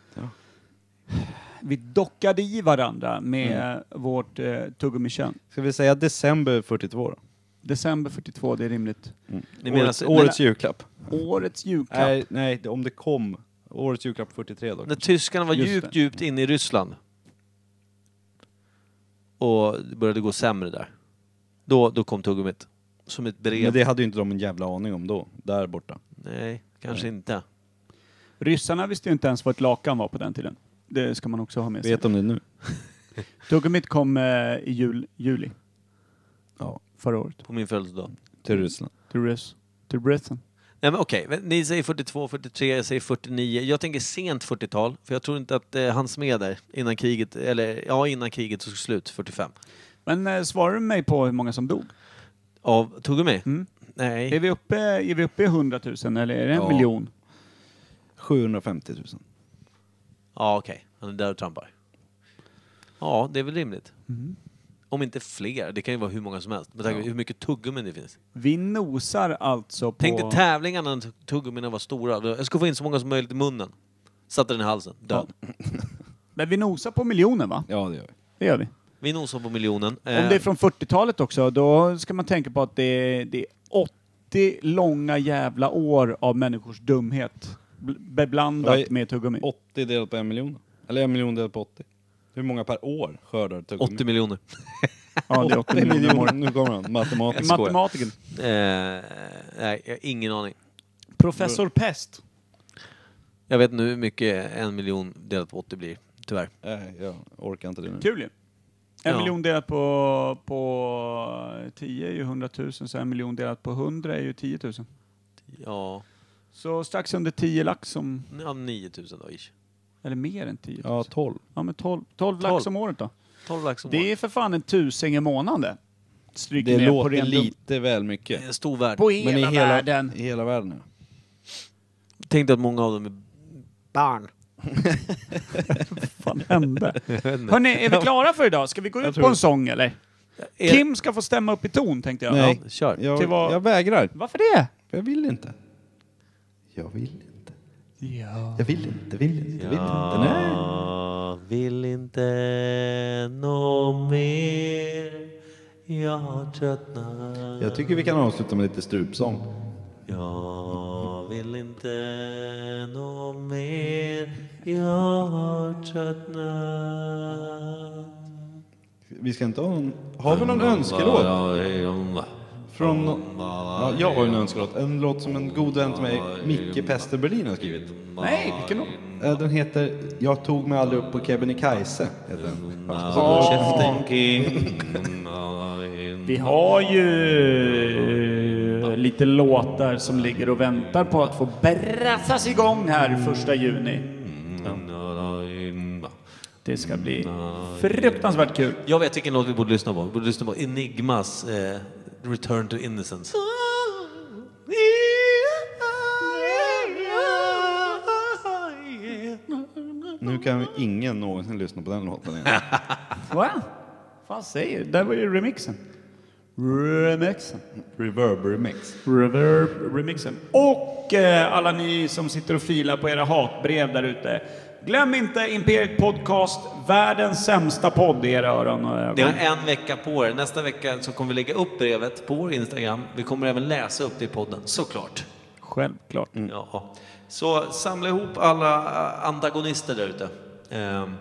A: Vi dockade i varandra med
C: Mm.
A: vårt eh, tuggummikön.
C: Ska vi säga december 42 då?
A: December 42, det är rimligt.
F: Ni
C: årets
F: menar,
C: årets julklapp.
A: Årets julklapp.
C: Nej, nej, det- om det kom. Årets julklapp 43 då.
F: När, när tyskarna var
A: Just
F: djupt,
A: det.
F: djupt inne i Ryssland och det började gå sämre där, då, då kom tuggummit. Som ett brev.
C: Men det hade ju inte de en jävla aning om då, där borta.
F: Nej, kanske inte.
A: Ryssarna visste ju inte ens vad ett lakan var på den tiden. Det ska man också ha med sig.
C: Vet de det nu?
A: Tuggummit kom eh, i jul, juli
C: Ja,
A: förra året.
F: På min födelsedag.
C: till Ryssland.
A: Till Ryss. Till Britain.
F: Nej men okej, men ni säger 42, 43, jag säger 49. Jag tänker sent 40-tal, för jag tror inte att eh, han med där innan kriget, eller ja, innan kriget tog slut, 45.
A: Men eh, svarar du mig på hur många som dog?
F: Av tuggummi?
A: Mm.
F: Nej.
A: Är vi uppe, är vi uppe i 100 000 eller är det en
C: Ja.
A: miljon?
C: 750 000.
F: Ja, okej. Han är där och trampar. Ja, det är väl rimligt.
A: Mm-hmm.
F: Om inte fler. Det kan ju vara hur många som helst. Med tanke på hur mycket tuggummin det finns.
A: Vi nosar alltså på...
F: Tänk dig tävlingarna när tuggummina var stora. Jag ska få in så många som möjligt i munnen. Satte den i halsen. Död.
A: Men vi nosar på miljonen va?
C: Ja, det gör vi.
A: Det gör vi.
F: Vi nosar på miljonen.
A: Om det är från 40-talet också, då ska man tänka på att det är, det är 80 långa jävla år av människors dumhet. bl- Beblandat
C: Vad är-
A: med tuggummi.
C: 80 delat på en miljon. Eller en miljon delat på 80. Hur många per år skördar tuggummi?
F: 80 Eh, miljoner.
A: Ja, det är 80 miljoner om året.
C: Nu kommer han, matematisk.
A: Matematiken.
F: Eh, nej, jag har ingen aning. Mm.
A: Professor Pest.
F: Jag vet nu hur mycket en miljon delat på 80 blir. Tyvärr.
C: Nej, jag orkar inte det nu.
A: Kul ju. En
F: Ja.
A: miljon delat på, på 10 är ju 100 000, så en miljon delat på 100 är ju 10 000.
F: Ja,
A: Så strax under 10 lax som,
F: ja 9000 då ish.
A: eller mer än 10 000.
C: Ja,
A: Ja,
C: 12.
A: men 12, 12
F: Tolv.
A: lax om året då.
F: 12 lax om
A: Det
F: året.
A: är för fan en tusing i månaden det. Stryker
C: Det
A: med på
C: låter
A: ren dum-
C: lite väl
F: Det
C: mycket.
F: är en stor värld.
A: På hela,
C: Men i hela
A: världen.
C: I hela världen, ja.
F: Tänk dig att många av dem är barn.
A: Vad fan
C: (laughs)
A: hände? Hörni, är vi klara för idag? Ska vi gå ut på en sång eller?
F: Är-
A: Kim ska få stämma upp i ton tänkte jag.
C: Nej.
A: Ja.
F: Ja, kör.
A: Till
C: Jag,
A: vad-
C: jag vägrar.
A: Varför det?
C: För jag vill inte. Jag vill inte.
A: Ja.
C: Jag vill inte, vill inte, vill inte. Nej.
F: Ja, inte någon mer Jag har tröttnat
C: Jag tycker vi kan avsluta med lite strupsång.
F: Jag vill inte nå mer Jag har tröttnat
C: Vi ska inte ha någon... Har vi någon önskelåt? Från någon... Ja, jag har en önskelåt. En låt som en god vän till mig, Micke Pester Berlin, har skrivit.
A: Nej, vilken låt?
C: Eh, Den heter Jag tog mig aldrig upp på Kebnekaise. heter den.
F: Käften King
A: Vi har ju lite låtar som ligger och väntar på att få brassas igång här första juni. Det ska bli fruktansvärt kul.
F: Jag vet vilken låt vi borde lyssna på. Vi borde lyssna på Enigmas eh, Return to Innocence.
C: Nu kan vi ingen någonsin lyssna på den låten (laughs) igen.
A: Va? Vad säger du? Där var ju remixen. Remixen.
C: Reverb remix.
A: Reverb remixen. Och eh, alla ni som sitter och filar på era hatbrev där ute. Glöm inte Imperiet Podcast, världens sämsta podd i era öron och eh, ögon.
F: Ni har en vecka på er. Nästa vecka så kommer vi lägga upp brevet på vår Instagram. Vi kommer även läsa upp det i podden, såklart.
A: Självklart.
F: Mm. Ja. Så samla ihop alla eh, antagonister där ute. Ehm,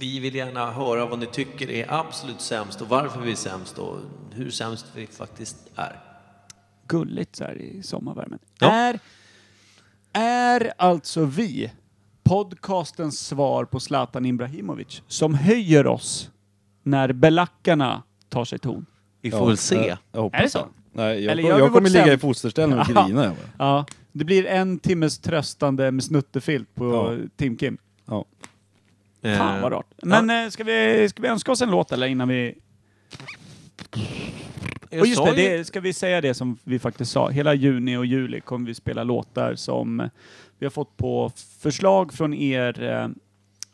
F: Vi vill gärna höra vad ni tycker är absolut sämst och varför vi är sämst och hur sämst vi faktiskt är.
A: gulligt så här i sommarvärmen.
F: Ja.
A: Är, är alltså vi podcastens svar på Zlatan Ibrahimovic som höjer oss när belackarna tar sig ton?
F: Vi får
A: eh,
F: väl se.
C: Jag
A: Är det
C: hoppas
A: så?
C: det. Nej, jag,
A: Eller
C: jag,
A: gör vi vårt
C: kommer ligga i
A: sämst?
C: fosterställning och
A: Ja.
C: grina. jag bara.
A: Ja, det blir en timmes tröstande med snuttefilt på
C: Ja.
A: Tim Kim.
C: Ja.
A: Fan vad rart. Men eh, ska, vi, ska vi önska oss en låt eller innan vi...
F: Eh, Jag
A: Och just
F: sa
A: det,
F: ju-
A: det, ska vi säga det som vi faktiskt sa. Hela juni och juli kommer vi spela låtar som eh, vi har fått på förslag från er eh,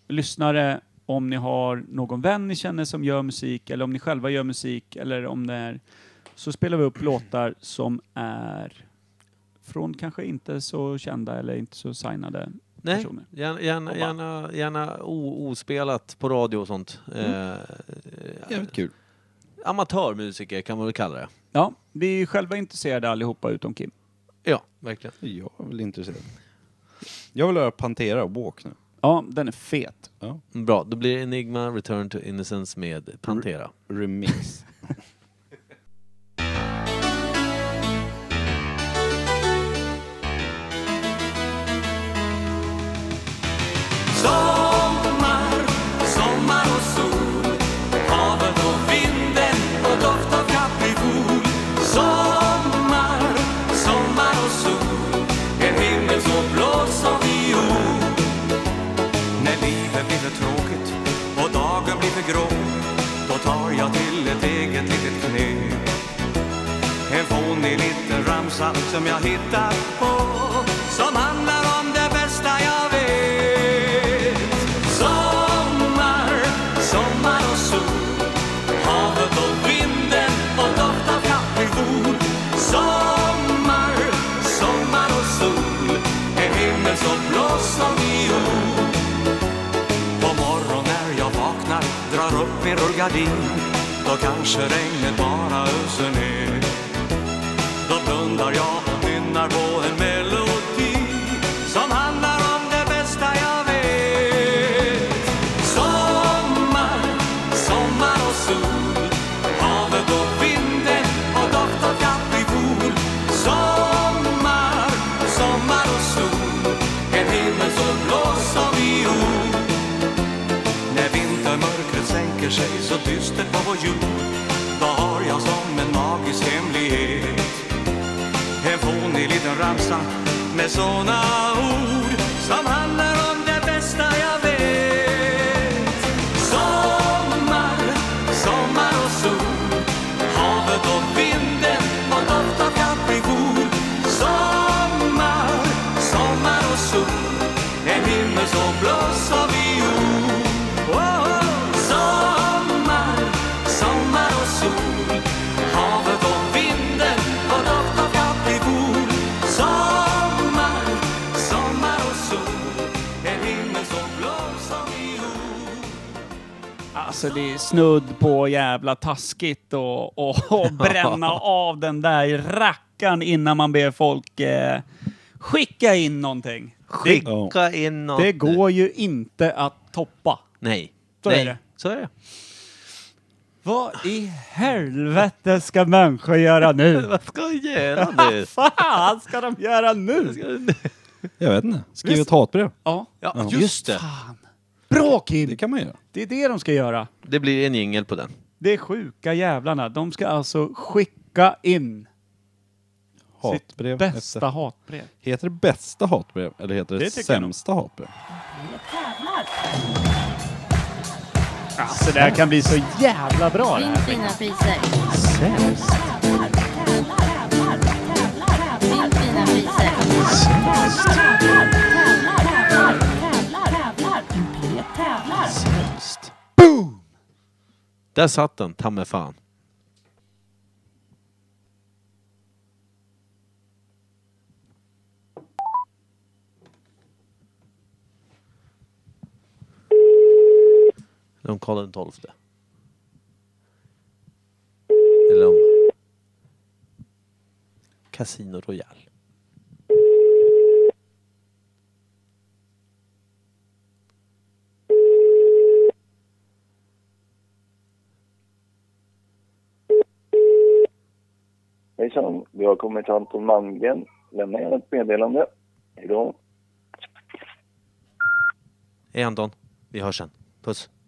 A: lyssnare. Om ni har någon vän ni känner som gör musik eller om ni själva gör musik eller om det är så spelar vi upp låtar som är från kanske inte så kända eller inte så signade
F: Nej,
A: personer.
F: gärna, gärna, gärna, gärna o- ospelat på radio och sånt.
A: Mm.
F: Eh,
C: Jävligt kul.
F: amatörmusiker kan man väl kalla det.
A: Ja, vi är själva intresserade allihopa utom Kim.
F: Ja, verkligen.
C: Jag är väl intresserad. Jag vill höra Pantera och Walk nu.
A: Ja, den är fet.
F: Bra, då blir det Enigma Return to Innocence med Pantera.
C: (laughs) Remix.
I: Sommar, sommar och sol Havet och vinden och doft av kaprifol Sommar, sommar och sol En himmel så blå som viol När livet blir för tråkigt och dagen blir för grå Då tar jag till ett eget litet knep en fånig liten ramsa som jag hittar på Som handlar om det bästa jag vet Sommar, sommar och sol Havet och vinden och doft av kaprifol Sommar, sommar och sol En himmel så blå som viol på morgon när jag vaknar, drar upp min rullgardin Då kanske regnet bara öser ner då blundar jag och nynnar på en melodi som handlar om det bästa jag vet. Sommar, sommar och sol, havet och vinden och doft av kaprifol. Sommar, sommar och sol, en himmel så blå som viol. När vintermörkret sänker sig så dystert på vår jord, då har jag som en magisk hemlighet en fånig liten ramsa med såna ord som handlar om det bästa jag vet. Sommar, sommar och sol, havet och vinden och doft av kaprifol. Sommar, sommar och sol, en himmel så blå som viol. Oh, sommar, sommar och sol, havet och vinden och doft av kaprifol. Sommar, sommar och sol, en himmel så blå som viol.
A: Alltså det är snudd på jävla taskigt och, och, och bränna av den där rackaren innan man ber folk eh, skicka in någonting. Det,
F: Skicka in något.
A: det går ju inte att toppa.
F: Nej.
A: Så är
F: Nej.
A: det.
F: Så är det.
A: Vad i helvete ska människor göra
F: (laughs)
A: nu?
F: Vad ska jag göra nu?
A: (laughs) Vad fan ska de göra nu?
C: Jag vet inte. Skriv ett hatbrev.
A: Ja,
F: Ja, just det.
A: fan. Bra
C: Det
A: Kim!
C: kan man göra.
A: Det är det de ska göra.
F: Det blir en jingel på den.
A: Det är sjuka jävlarna. De ska alltså skicka in
C: Hatbrev.
A: sitt bästa
C: efter-
A: hatbrev.
C: Heter det bästa hatbrev eller heter det,
A: Det tycker jag nog.
C: sämsta hatbrev?
A: Alltså det här kan bli så jävla bra det
G: Vinn
A: här.
G: fina priser.
A: Sämst.
G: Vinn fina priser.
F: Sämst. Boom! Där satt den, ta mig fan. De kollar den tolfte. Eller om... Casino Royale.
J: Hejsan, vi har kommit till Anton Malmgren. Lämna gärna ett meddelande. Hej då.
F: Hej Anton, vi hörs sen. Puss.